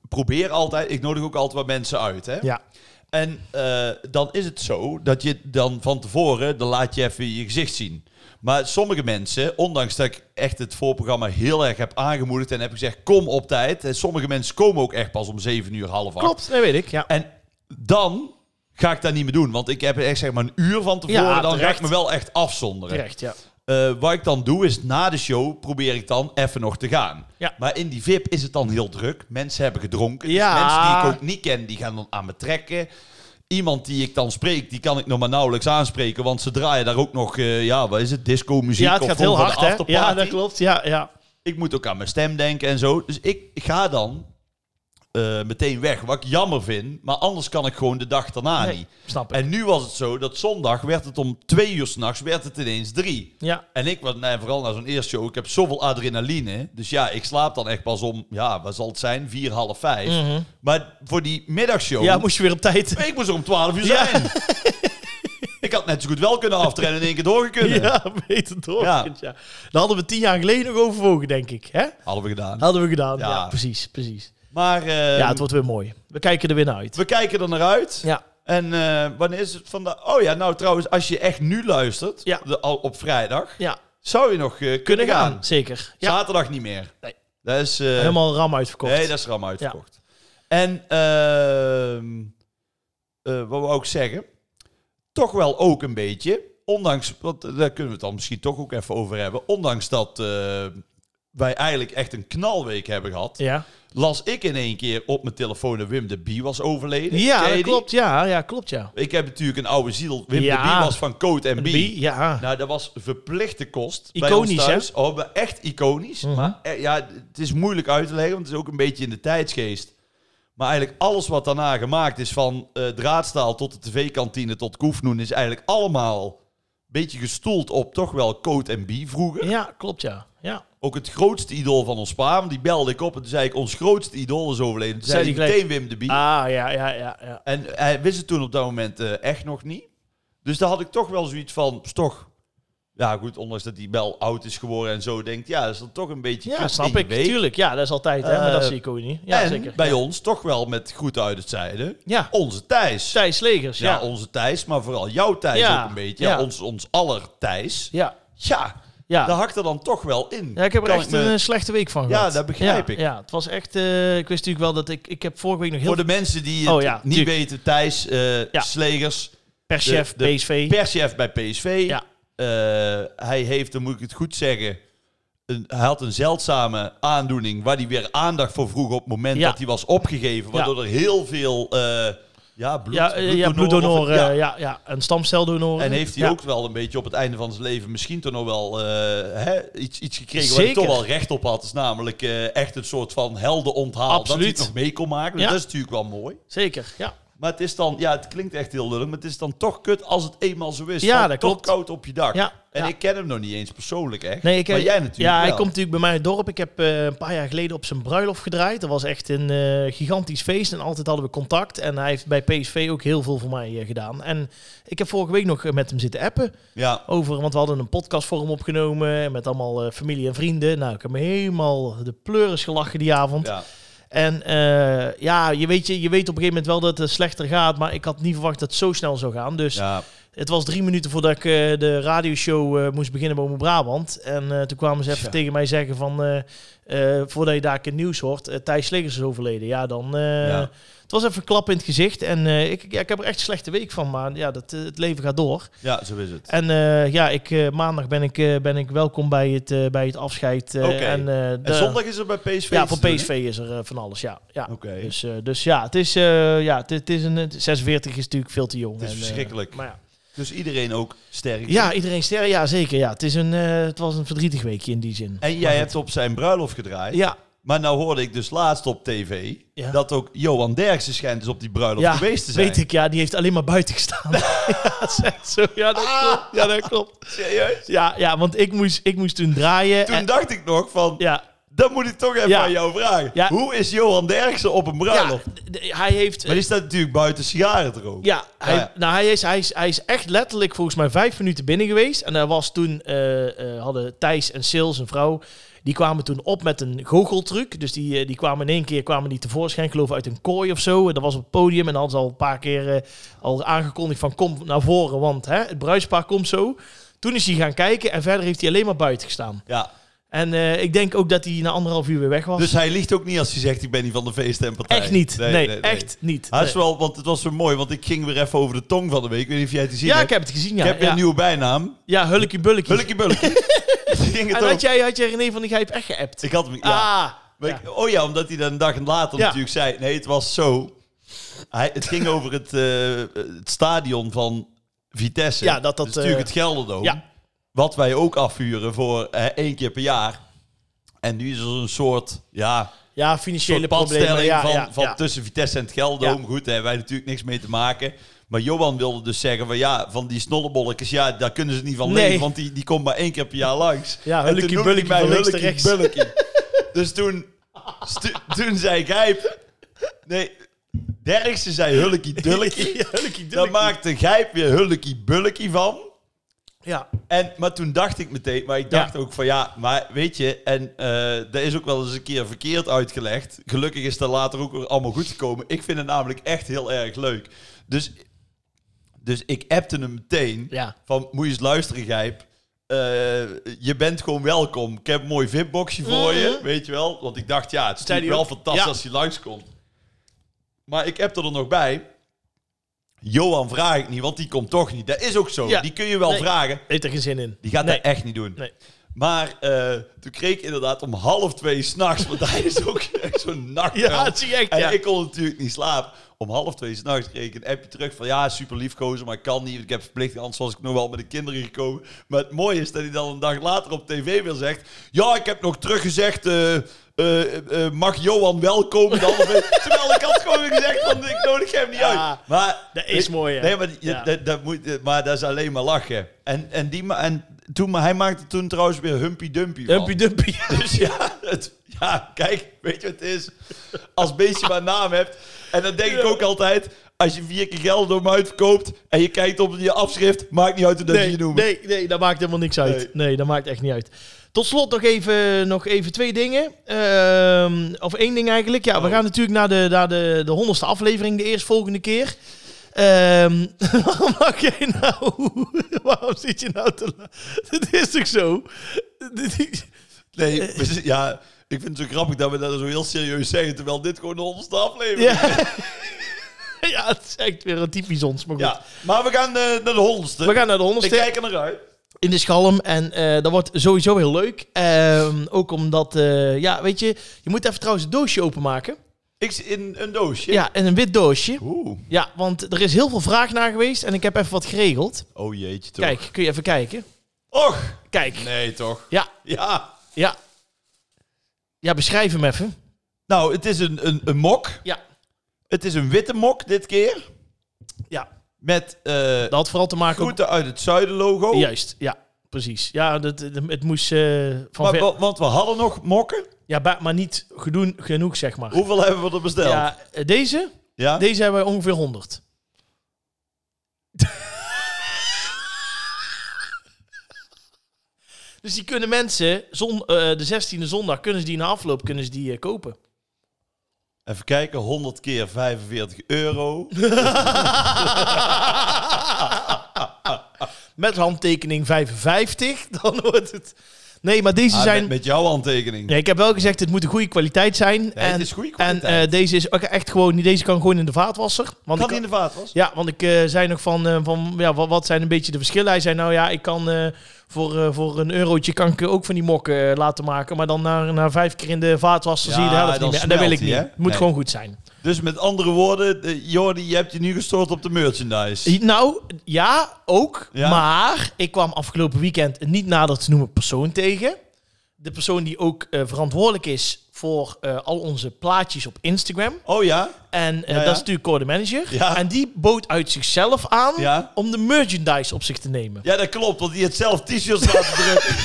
probeer altijd, ik nodig ook altijd wat mensen uit. Hè? Ja. En eh, dan is het zo dat je dan van tevoren, dan laat je even je gezicht zien. Maar sommige mensen, ondanks dat ik echt het voorprogramma heel erg heb aangemoedigd en heb gezegd kom op tijd. En sommige mensen komen ook echt pas om 7 uur, half acht. Klopt, dat weet ik. Ja. En dan ga ik dat niet meer doen, want ik heb echt zeg maar een uur van tevoren, Ja, dan ga terecht. ik me wel echt afzonderen. Terecht, ja. Eh, wat ik dan doe is na de show probeer ik dan even nog te gaan. Ja. Maar in die VIP is het dan heel druk. Mensen hebben gedronken. Dus Ja. mensen die ik ook niet ken, die gaan dan aan me trekken. Iemand die ik dan spreek, die kan ik nog maar nauwelijks aanspreken. Want ze draaien daar ook nog, eh, ja, wat is het, disco muziek ja, het of gaat heel voor de hard, hè? afterparty. Ja, dat klopt. Ja, ja. Ik moet ook aan mijn stem denken en zo. Dus ik ga dan eh, meteen weg. Wat ik jammer vind, maar anders kan ik gewoon de dag daarna Nee, niet. snap ik. En nu was het zo dat zondag werd het om twee uur s'nachts, werd het ineens drie. ja. En ik was, nee, vooral na zo'n eerste show, ik heb zoveel adrenaline. Dus ja, ik slaap dan echt pas om, ja, wat zal het zijn? Vier, half vijf. Mhm. Maar voor die middagshow, ja, moest je weer op tijd. ik moest er om twaalf uur Ja. zijn. ik had net zo goed wel kunnen aftreden en in één keer doorgekund. Ja, beter door. Ja. Ja. Daar hadden we tien jaar geleden nog overwogen, denk ik. Hè? Hadden we gedaan. Hadden we gedaan. Ja, Ja. precies, precies. Maar eh, ja, het wordt weer mooi. We kijken er weer naar uit. we kijken er naar uit. Ja. En eh, wanneer is het vandaag? Oh ja, nou trouwens, als je echt nu luistert, Ja. de- al op vrijdag, Ja, zou je nog eh, kunnen, kunnen gaan. gaan. Zeker. Ja. Zaterdag niet meer. Nee. Dat is eh, Helemaal ram uitverkocht. Nee, dat is ram uitverkocht. En ehm, eh, wat we ook zeggen, toch wel ook een beetje, ondanks, want daar kunnen we het dan misschien toch ook even over hebben, ondanks dat eh, wij eigenlijk echt een knalweek hebben gehad, Ja. las ik in één keer op mijn telefoon dat Wim de Bie was overleden. Ken Ja, je dat die? klopt. Ja, ja, klopt, ja. Ik heb natuurlijk een oude ziel. Wim Ja. de Bie was van Coat en Bie. Bie, ja. Nou, dat was verplichte kost. bij Iconisch, ons hè? thuis. Oh, maar echt iconisch. Mhm. Maar eh, ja, het is moeilijk uit te leggen, want het is ook een beetje in de tijdsgeest. Maar eigenlijk alles wat daarna gemaakt is, van eh, draadstaal tot de tv-kantine tot Koefnoen, is eigenlijk allemaal een beetje gestoeld op toch wel Coat en Bie vroeger. Ja, klopt, ja. Ja, Ook het grootste idool van ons pa, want die belde ik op en toen zei ik, ons grootste idool is overleden. Toen Zei die zei hij gelijk- meteen Wim de Bie. ah, ja, ja, ja. ja. En hij wist het toen op dat moment eh, echt nog niet. Dus daar had ik toch wel zoiets van, is toch... Ja goed, ondanks dat hij wel oud is geworden en zo denkt... Ja, dat is dan toch een beetje... Ja, kut snap ding ik. geweest. Tuurlijk, ja, dat is altijd, hè. Maar dat Eh, zie ik ook niet. Ja, en zeker. bij ja. ons toch wel met groeten uit het zijde. Ja, Onze Thijs. Thijs Legers, Ja, ja. onze Thijs, maar vooral jouw Thijs Ja, ook een beetje. Ja, ja. Ons, ons aller Thijs. Ja, Ja, daar ja. hakt er dan toch wel in. Ja, ik heb er Kan echt me- een eh, slechte week van Ja, gehad. dat begrijp ik. Ja, het was echt... eh, ik wist natuurlijk wel dat ik... Ik heb vorige week nog heel Voor veel de mensen die het Oh ja, niet tuurlijk. weten, Thijs eh, Ja. Slegers, perschef, de- de PSV. perschef bij PSV. Ja. Eh, hij heeft, dan moet ik het goed zeggen, een, hij had een zeldzame aandoening waar hij weer aandacht voor vroeg op het moment Ja. dat hij was opgegeven. Waardoor er heel veel eh, ja, bloed, ja, eh, ja, bloeddonor. bloeddonoren- eh, ja. ja, ja, een stamceldonoren. En heeft hij Ja. ook wel een beetje op het einde van zijn leven misschien toch nog wel eh, hè, iets, iets gekregen waar Zeker. hij toch wel recht op had. Is namelijk eh, echt een soort van heldenonthaal dat hij Absoluut. het nog mee kon maken. Ja. Dat is natuurlijk wel mooi. Zeker, ja. Maar het is dan, ja, het klinkt echt heel lullig, maar het is dan toch kut als het eenmaal zo is. Ja, Van dat toch klopt. koud op je dak. Ja, en ja. ik ken hem nog niet eens persoonlijk echt. Nee, ik, eh, maar jij natuurlijk Ja, wel. hij komt natuurlijk bij mij in het dorp. Ik heb eh, een paar jaar geleden op zijn bruiloft gedraaid. Dat was echt een eh, gigantisch feest en altijd hadden we contact. En hij heeft bij PSV ook heel veel voor mij eh, gedaan. En ik heb vorige week nog eh, met hem zitten appen Ja, over, want we hadden een podcast voor hem opgenomen met allemaal eh, familie en vrienden. Nou, ik heb me helemaal de pleuris gelachen die avond. ja. En eh, ja, je weet, je, je weet op een gegeven moment wel dat het slechter gaat, maar ik had niet verwacht dat het zo snel zou gaan. Dus ja. het was drie minuten voordat ik eh, de radioshow eh, moest beginnen bij Omroep Brabant. En eh, toen kwamen ze even Tja. tegen mij zeggen van... eh, eh, voordat je daar een keer nieuws hoort, eh, Thijs Slegers is overleden. Ja, dan... eh, Ja. Het was even een klap in het gezicht. En eh, ik, ja, ik heb er echt een slechte week van, maar ja, dat, eh, het leven gaat door. ja, zo is het. En eh, ja, ik, eh, maandag ben ik, eh, ben ik welkom bij het, eh, bij het afscheid. eh, Oké. en, eh, de- En zondag is er bij PSV Ja, iets voor te doen, PSV is er eh, van alles, ja. ja. hè? Oké, Dus, eh, dus ja, het is, eh, ja, het, het is een... het- 46 is natuurlijk veel te jong. het is en, eh, verschrikkelijk. maar ja. Dus iedereen ook sterk. Ja, iedereen sterren. Ja, zeker. Ja. Het, is een, eh, het was een verdrietig weekje in die zin. En jij hebt op zijn bruiloft gedraaid. Ja, Maar nou hoorde ik dus laatst op tv Ja. dat ook Johan Derksen schijnt dus op die bruiloft ja geweest te zijn. weet ik. Ja, die heeft alleen maar buiten gestaan. ja, dat is zo. Ja, dat Ah. klopt. Ja, dat klopt. Serieus? Ja, ja want ik moest, ik moest toen draaien. Toen en- dacht ik nog van, ja, dat moet ik toch even Ja. aan jou vragen. Ja. Hoe is Johan Derksen op een bruiloft? ja d- d- hij heeft... Maar die staat natuurlijk buiten sigaren te roken. Ja, hij, Ah, Ja. Nou, hij, is, hij, is, hij is echt letterlijk volgens mij vijf minuten binnen geweest. En daar was toen, eh, eh, hadden Thijs en Sils, een vrouw, die kwamen toen op met een goocheltruc. Dus die, eh, die kwamen in één keer kwamen die tevoorschijn, ik geloof uit een kooi of zo. En dat was op het podium en dan hadden ze al een paar keer eh, al aangekondigd van kom naar voren, want hè, het bruidspaar komt zo. Toen is hij gaan kijken en verder heeft hij alleen maar buiten gestaan. Ja. En eh, ik denk ook dat hij na anderhalf uur weer weg was. Dus hij liegt ook niet als hij zegt, ik ben niet van de feesten en partijen. echt niet. Nee, echt niet. Hij is Nee. wel, want het was zo mooi, want ik ging weer even over de tong van de week. Ik weet niet of jij het gezien Ja, ik hebt. heb het gezien. Ja, ik heb weer ja. een nieuwe bijnaam. ja hulkie bulkie. Hulkie Bulkie. ging het En had over. jij, had jij René van die Gijp echt geappt? Ik had hem, ja. Ah, Maar ja. ik- oh ja, omdat hij dan een dag later Ja. natuurlijk zei, nee, het was zo. Hij, het ging over het, eh, het stadion van Vitesse. Ja, dat dat, Dus natuurlijk eh, het Gelderdoom. ja. Wat wij ook afvuren voor eh, één keer per jaar. En nu is er een soort, ja, ja, financiële soort problemen. padstelling Ja, van, ja, van ja. tussen Vitesse en het Gelderdoom. Ja. Goed, daar hebben wij natuurlijk niks mee te maken. Maar Johan wilde dus zeggen van ja, van die snollebolletjes, ja, daar kunnen ze niet van Nee. leven, want die, die komt maar één keer per jaar langs. Ja, En toen hulkie noemde hij bulkie van mij links naar rechts. hulkie bulkie. Dus toen, stu- toen zei Gijp, nee, Derksen zei hulkie dulkie. Ja, hulkie Daar dulkie. maakte Gijp weer hulkie bulkie van. Ja, En, maar toen dacht ik meteen, maar ik dacht ook van ja, maar weet je, en eh dat is ook wel eens een keer verkeerd uitgelegd. Gelukkig is dat later ook weer allemaal goed gekomen. Ik vind het namelijk echt heel erg leuk. Dus, dus ik appte hem meteen Ja. van moet je eens luisteren Gijp. Eh, je bent gewoon welkom. Ik heb een mooi VIP-boxje voor je, Mhm. weet je wel. Want ik dacht ja, het is Zei die natuurlijk wel ook? fantastisch Ja. als hij langskomt. Maar ik appte er nog bij. Johan vraag ik niet, want die komt toch niet. Dat is ook zo. Ja. Die kun je wel Nee. vragen. heeft er geen zin in. Die gaat Nee. dat echt niet doen. Nee. Maar eh, toen kreeg ik inderdaad om half twee s'nachts, want hij is ook echt zo'n nacht. Ja, dat zie je echt, En ja. ik kon natuurlijk niet slapen. Om half twee s'nachts kreeg ik een appje terug van ja, super liefkozen, maar ik kan niet. want Ik heb verplichting, anders was ik nog wel met de kinderen gekomen. Maar het mooie is dat hij dan een dag later op tv weer zegt: Ja, ik heb nog teruggezegd. eh eh, eh, mag Johan wel komen dan? Terwijl ik had gewoon gezegd, van, ik nodig hem niet Ja, uit. Maar, dat is mooi, hè? Nee, maar, die- je- Ja. dat, dat moet, eh, maar dat is alleen maar lachen. En, en, die, ma- en toen, maar hij maakte toen trouwens weer Humpy Dumpy van. Dumpy dumpy. Dus ja, het, ja, kijk, weet je wat het is? Als beestje maar een naam hebt. En dan denk ik ook altijd, als je vier keer geld door hem uitverkoopt en je kijkt op je afschrift, maakt niet uit hoe dat ze nee, je noemt. nee, nee, dat maakt helemaal niks uit. Nee. Nee. dat maakt echt niet uit. Tot slot nog even, nog even twee dingen. Ehm, of één ding eigenlijk. Ja, we Oh. gaan natuurlijk naar de, naar de, de honderdste aflevering de eerstvolgende keer. Ehm, waarom mag jij nou... waarom zit je nou te... la- Dit is toch zo? Dit is- Nee, we z- ja, ik vind het zo grappig dat we dat zo heel serieus zeggen, terwijl dit gewoon de honderdste aflevering is. ja. ja, het is echt weer een typisch ons. Maar goed. Ja, maar we gaan eh, naar de honderdste. We gaan naar de Ik honderdste. kijk er naar uit. in de schalm. En eh, dat wordt sowieso heel leuk. Ehm, ook omdat, eh, ja, weet je, je moet even trouwens het doosje openmaken. Ik zit in een doosje. Ja, en een wit doosje. Oeh. Ja, want er is heel veel vraag naar geweest en ik heb even wat geregeld. Oh jeetje toch. Kijk, kun je even kijken? Och. Kijk. Nee toch. Ja, Ja. ja. Ja, beschrijf hem even. Nou, het is een, een, een mok. Ja. Het is een witte mok dit keer. Ja, Met eh dat had vooral te maken met... groeten uit het zuiden logo. Juist, ja. Precies. Ja, dat, dat- het moest eh, van Maar, ver... wa- want we hadden nog mokken. Ja, ba- maar niet gedoen, genoeg, zeg maar. Hoeveel hebben we er besteld? Ja. Ja, eh, deze? Deze hebben we ongeveer 100. dus die kunnen mensen, zon, eh, de 16e zondag, kunnen ze die na afloop kunnen ze die, eh, kopen. Even kijken, 100 keer 45 euro. Dus Met handtekening 55, dan wordt het... Nee, maar deze Ah, zijn... met, met jouw handtekening. Nee, ik heb wel gezegd, het moet een goede kwaliteit zijn. en het is goede en kwaliteit. eh, deze is ook echt gewoon niet... Deze kan gewoon in de vaatwasser. Want Kan ik- die in de vaatwas? Ja, want ik eh, zei nog van, eh, van ja, wat, wat zijn een beetje de verschillen? Hij zei, nou ja, ik kan eh, voor, eh, voor een eurotje kan ik ook van die mokken eh, laten maken. Maar dan na, na vijf keer in de vaatwasser Ja, zie je de helft dan niet meer. En dat wil ik smelt niet. hij, hè? Het moet Nee. gewoon goed zijn. Dus met andere woorden, eh, Jordi, je hebt je nu gestort op de merchandise. Nou, ja, ook. Ja. Maar ik kwam afgelopen weekend een niet nader te noemen persoon tegen. De persoon die ook eh, verantwoordelijk is voor eh, al onze plaatjes op Instagram. Oh ja? En eh, Ja, ja. dat is natuurlijk Core de Manager. Ja. En die bood uit zichzelf aan Ja. om de merchandise op zich te nemen. Ja, dat klopt, want die heeft zelf t-shirts laten drukken.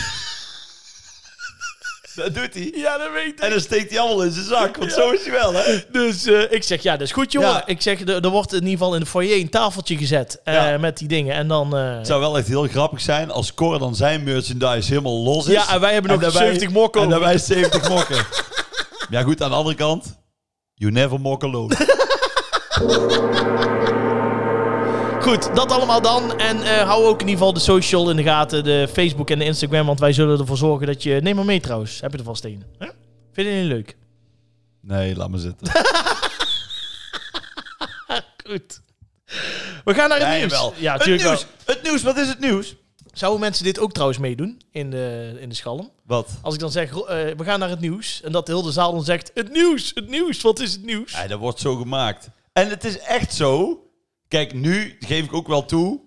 dat doet hij. Ja, dat weet En dan steekt hij allemaal in zijn zak, want zo is hij wel, hè? Dus eh, ik zeg, ja, dat is goed, jongen. Ja. Ik zeg, er er wordt in ieder geval in de foyer een tafeltje gezet eh, Ja. met die dingen. En dan... eh, Het zou wel echt heel grappig zijn als Cor dan zijn merchandise helemaal los is. ja, dus. en wij hebben nog dat wij- 70 mokken En over. dan wij 70 mokken. Maar ja, goed, aan de andere kant. You never mock alone. Goed, dat allemaal dan. En eh, hou ook in ieder geval de social in de gaten. De Facebook en de Instagram. Want wij zullen ervoor zorgen dat je... Neem maar mee trouwens. Heb je er vast één. Hè? Vind je het leuk? Nee, laat maar zitten. Goed. We gaan naar het Ja, nieuws. jawel. Ja, het, natuurlijk wel. nieuws. het nieuws, wat is het nieuws? Zouden mensen dit ook trouwens meedoen in de, in de schalm? Wat? Als ik dan zeg, ro- eh, we gaan naar het nieuws. En dat de hele zaal dan zegt, het nieuws, het nieuws, wat is het nieuws? Ja, dat wordt zo gemaakt. En het is echt zo. Kijk, nu geef ik ook wel toe.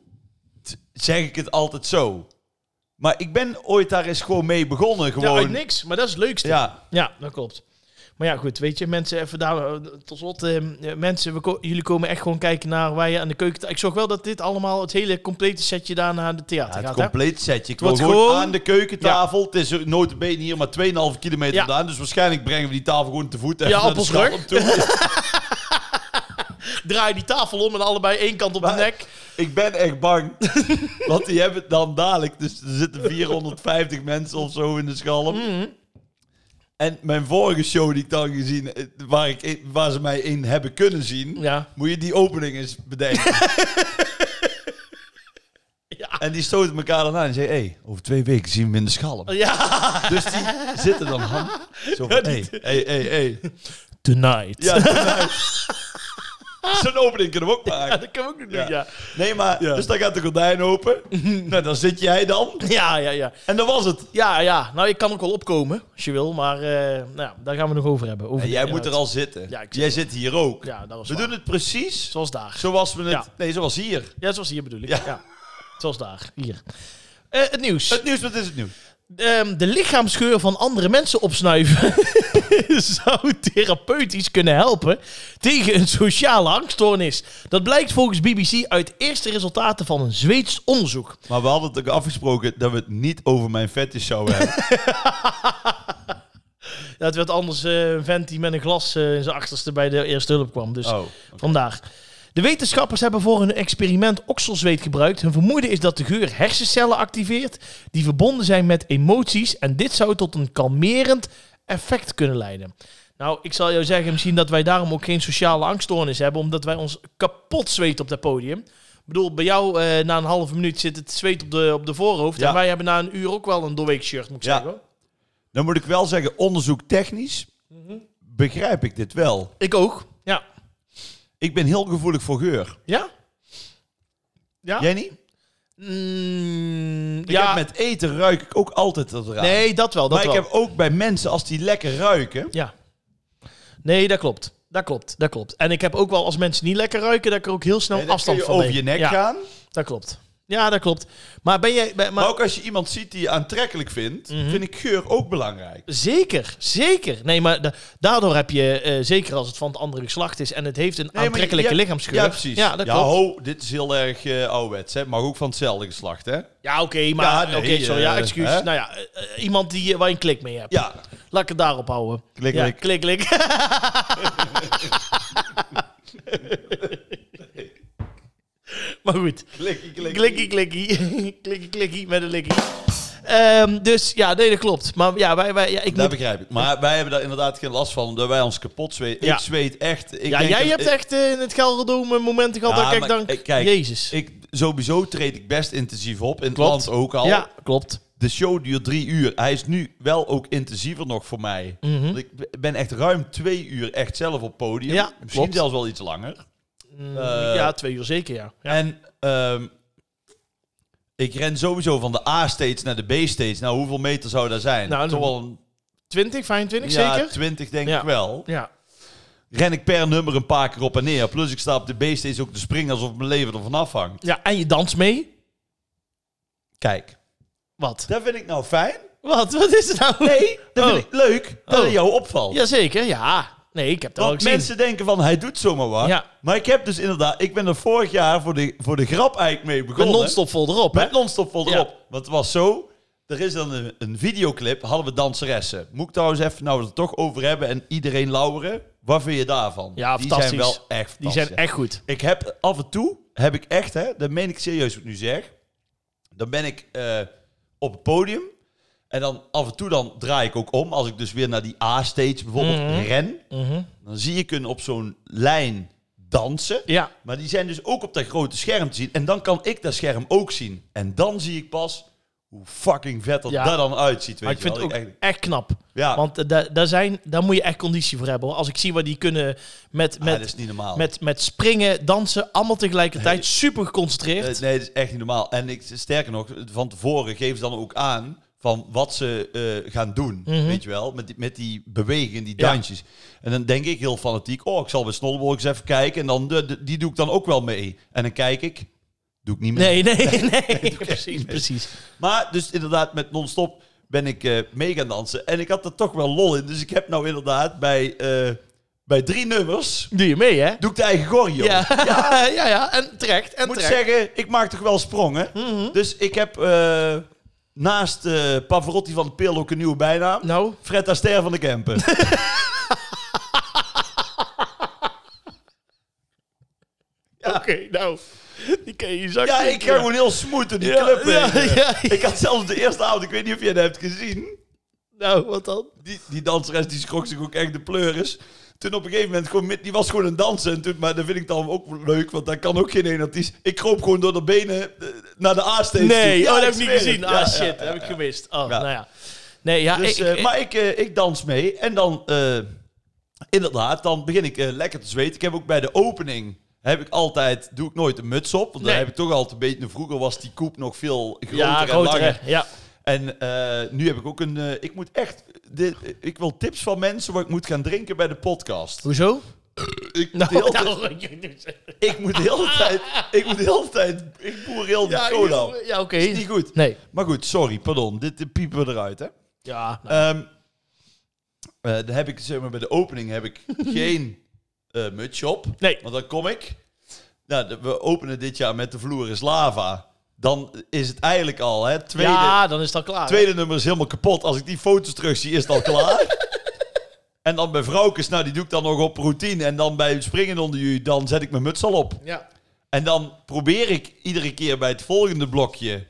t- Zeg ik het altijd zo. Maar ik ben ooit daar eens gewoon mee begonnen. Gewoon. Ja, uit niks. Maar dat is het leukste. Ja. Ja, dat klopt. Maar ja, goed, weet je, mensen, even daar, eh, tot slot, eh, eh, mensen, we ko- jullie komen echt gewoon kijken naar waar je aan de keuken... Ik zorg wel dat dit allemaal, het hele complete setje daar naar de theater Ja, het gaat, hè? compleet setje. Ik wil wordt gewoon, gewoon- aan de keukentafel. Het is notabene hier maar 2,5 kilometer Ja. vandaan. Dus waarschijnlijk brengen we die tafel gewoon te voet. even Ja, naar de appelsrug. stad om toe. Draai die tafel om en allebei één kant op de Maar- nek. ik ben echt bang. Want die hebben het dan dadelijk. Dus er zitten 450 mensen of zo in de schalm. Mhm. En mijn vorige show die ik dan gezien... eh, Waar, ik, in- waar ze mij in hebben kunnen zien... Ja. Moet je die opening eens bedenken. Ja. En die stoten elkaar dan aan en zeiden... hey, over twee weken zien we hem in de schalm. Ja. Dus die zitten dan... Han, zo van, hey, hey, hey, hey. Tonight. Ja, tonight. Zo'n opening kunnen we ook maken. Ja, dat kan ook niet doen, Ja. ja. Nee, maar... Ja. Dus dan gaat de gordijn open. nou, dan zit jij dan. Ja, ja, ja. En dat was het. Ja, ja. Nou, ik kan ook wel opkomen, als je wil. Maar eh, nou, ja, daar gaan we nog over hebben. Over En de jij inhoud. moet er al zitten. Ja, ik zit jij zit hier ook. Ja, dat was we doen het precies Zoals daar. zoals we het... Ja. Nee, zoals hier. Ja, zoals hier bedoel ik. Ja. Ja. Zoals daar. Hier. Eh, het nieuws. Het nieuws, wat is het nieuws? Ehm, de lichaamsgeur van andere mensen opsnuiven zou therapeutisch kunnen helpen tegen een sociale angststoornis. Dat blijkt volgens BBC uit eerste resultaten van een Zweeds onderzoek. Maar we hadden het ook afgesproken dat we het niet over mijn fetish zouden hebben. Dat werd anders eh, een vent die met een glas eh, in zijn achterste bij de eerste hulp kwam. Dus Oh. Vandaar. De wetenschappers hebben voor hun experiment okselzweet gebruikt. Hun vermoeden is dat de geur hersencellen activeert die verbonden zijn met emoties. En dit zou tot een kalmerend effect kunnen leiden. Nou, ik zal jou zeggen misschien dat wij daarom ook geen sociale angststoornis hebben. Omdat wij ons kapot zweten op dat podium. Ik bedoel, bij jou eh, na een halve minuut zit het zweet op de, op de voorhoofd. Ja. En wij hebben na een uur ook wel een doorweek shirt, moet ik Ja. zeggen. hoor. Dan moet ik wel zeggen, onderzoek technisch Mhm. begrijp ik dit wel. Ik ook. Ja. Ik ben heel gevoelig voor geur. Ja? Ja? Jij niet? Mm, Ik heb met eten ruik ik ook altijd dat raar. Nee, dat wel. Dat maar wel. ik heb ook bij mensen, als die lekker ruiken... Ja. Nee, dat klopt. Dat klopt, dat klopt. En ik heb ook wel, als mensen niet lekker ruiken, dat ik er ook heel snel nee, dan afstand kun je van over neem. je nek ja, gaan. dat klopt. Ja, dat klopt. Maar ben jij... ben- Maar, maar, ook als je iemand ziet die je aantrekkelijk vindt, Mhm. vind ik geur ook belangrijk. zeker, zeker. Nee, maar da- daardoor heb je, eh, zeker als het van het andere geslacht is en het heeft een maar je- aantrekkelijke je- lichaamsgeur. Ja, precies. Ja, Ja, dat klopt. ho, dit is heel erg eh ouderwets, hè. Mag ook van hetzelfde geslacht, hè? Ja, oké, maar... Ja, nee, oké, sorry, ja, eh, excuus. hè? Nou ja, eh, eh, iemand die, eh, waar je een klik mee hebt. Ja. Laat ik het daarop houden. Klik, ja, klik. klik, klik. maar goed. Klikkie, klikkie. Klikkie, klikkie. klikkie, klikkie met een likkie. Ehm, dus ja, nee, dat klopt. Maar ja, wij, wij, ja, ik Dat moet- begrijp ik. Maar wij hebben daar inderdaad geen last van, omdat wij ons kapot zweten. Ja. Ik zweet echt. Ik ja denk jij dat- hebt ik- echt eh, in het Gelderdoom momenten gehad Ja, dat ik echt maar dank... ik- kijk, Jezus. Ik, sowieso treed ik best intensief op. In Klopt. het land ook al. ja, klopt. De show duurt drie uur. Hij is nu wel ook intensiever nog voor mij. Mhm. Want ik ben echt ruim twee uur echt zelf op podium. Ja, Misschien klopt. zelfs wel iets langer. Mm, Eh, ja, twee uur zeker, ja. ja. En ehm, ik ren sowieso van de A-stage naar de B-stage. Nou, hoeveel meter zou daar zijn? Nou, Toch wel een 20, 25 ja, zeker? 20 denk Ja. ik wel. Ja. Ren ik per nummer een paar keer op en neer. Plus ik sta op de B-stage ook te springen alsof mijn leven ervan afhangt. ja, en je danst mee. Kijk, Wat? dat vind ik nou fijn. Wat? Wat is het nou? Nee, dat Oh. vind ik leuk dat Oh. het jou opvalt. Jazeker, ja. Nee, ik heb dat al Want gezien. mensen denken van, hij doet zomaar wat. Ja. Maar ik heb dus inderdaad... Ik ben er vorig jaar voor de, voor de grap eigenlijk mee Met begonnen. non-stop vol erop, hè? Met non-stop vol Ja. erop. Want het was zo... Er is dan een, een videoclip, hadden we danseressen. Moet ik trouwens even, nou we het er toch over hebben... en iedereen lauweren. Wat vind je daarvan? Ja, Die fantastisch. zijn wel echt Die fantastisch. zijn echt goed. Ik heb af en toe, heb ik echt, hè, dat meen ik serieus wat ik nu zeg. Dan ben ik eh, op het podium. En dan af en toe dan draai ik ook om. Als ik dus weer naar die A-stage bijvoorbeeld Mhm. ren. Dan zie ik hun op zo'n lijn dansen. Ja, Maar die zijn dus ook op dat grote scherm te zien. En dan kan ik dat scherm ook zien. En dan zie ik pas hoe fucking vet dat Ja. daar dan uitziet. Weet maar ik je vind wel. het ook Eigenlijk- echt knap. ja, want Want eh, da- daar zijn, daar moet je echt conditie voor hebben. hoor. Als ik zie wat die kunnen met, met, Ah, dat is niet normaal. met, met springen, dansen, allemaal tegelijkertijd. Super geconcentreerd. Eh, nee, dat is echt niet normaal. En ik, sterker nog, van tevoren geven ze dan ook aan van wat ze eh, gaan doen. Weet je wel, met die, met die bewegingen, die Mhm. Ja. dansjes. En dan denk ik heel fanatiek, oh, ik zal bij Snowball eens even kijken. En dan, de- de- die doe ik dan ook wel mee. En dan kijk ik, doe ik niet mee. nee, nee, nee. precies, niet. precies. Maar dus inderdaad, met non-stop ben ik eh, mee gaan dansen. En ik had er toch wel lol in. Dus ik heb nou inderdaad bij, eh, bij drie nummers, Doe je mee, hè? doe ik de eigen gorgio. Ja. ja, ja, En terecht, en Ik moet terecht. zeggen, ik maak toch wel sprongen. Mhm. Dus ik heb eh, naast eh, Pavarotti van de Peel ook een nieuwe bijnaam. Nou, Fred Astaire van de Kempen. oké, nou. Die kan je in je zak ja, ik steken, ga gewoon heel smooth door die club ja, heen. ja, ja. Ik had zelfs de eerste avond, ik weet niet of jij dat hebt gezien. Nou, wat dan? Die, die danseres die schrok zich ook echt de pleuris. Toen op een gegeven moment, gewoon, mid- die was gewoon een danser. En toen, maar dat vind ik dan ook leuk, want daar kan ook geen een artiest. Ik kroop gewoon door de benen eh, naar de A-stage. Nee, toe. Ja, oh, dat heb ik niet zweer gezien. het. Ah, Ja, shit, ja, dat ja. heb ik gemist. Oh, Ja. nou ja. Nee, ja, Dus, ik- eh, ik- maar ik, eh, ik dans mee. En dan eh, inderdaad, dan begin ik eh, lekker te zweten. Ik heb ook bij de opening, heb ik altijd, doe ik nooit een muts op. Want Nee. daar heb ik toch altijd een beetje, vroeger was die koep nog veel groter Ja, en grotere. langer. Ja. En eh, nu heb ik ook een, eh, ik moet echt, dit, ik wil tips van mensen wat ik moet gaan drinken bij de podcast. Hoezo? Ik moet heel Nou, de hele tijd, nou, ja, ik moet de hele tijd, ik moet de hele tijd, ik boer heel de cola. op. ja, oké. Is niet goed. Nee. Maar goed, sorry, pardon. Dit eh, piepen we eruit, hè? Ja. Ehm eh, dan heb ik, zeg maar, bij de opening heb ik geen eh mutsje op. Nee. Want dan kom ik. Nou, de- we openen dit jaar met de vloer is lava. Dan is het eigenlijk al, hè? Tweede, ja, dan is het al klaar. tweede nummer is helemaal kapot. Als ik die foto's terugzie, is het al klaar. en dan bij vrouwkes, nou, die doe ik dan nog op routine. En dan bij springen onder jullie, dan zet ik mijn muts al op. Ja. En dan probeer ik iedere keer bij het volgende blokje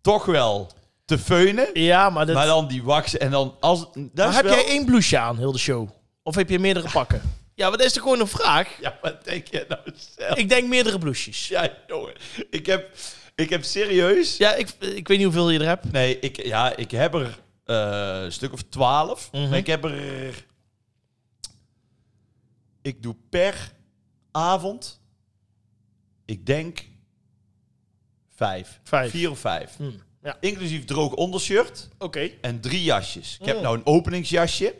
toch wel te feunen. ja, maar, dat, Maar dan die waksen en dan als... Dat Maar is heb wel- jij één blouseje aan, heel de show? Of heb je meerdere pakken? Ja, maar dat is toch gewoon een vraag? Ja, wat denk jij nou zelf? Ik denk meerdere blouses. Ja, jongen. Ik heb, ik heb serieus... Ja, ik, ik weet niet hoeveel je er hebt. Nee, ik, ja, ik heb er eh, een stuk of twaalf. Mhm. Maar ik heb er... Ik doe per avond... Ik denk... Vijf. Vijf. Vier of vijf. Hm, Ja, Inclusief droog ondershirt oké. en drie jasjes. Ik heb Mm. nou een openingsjasje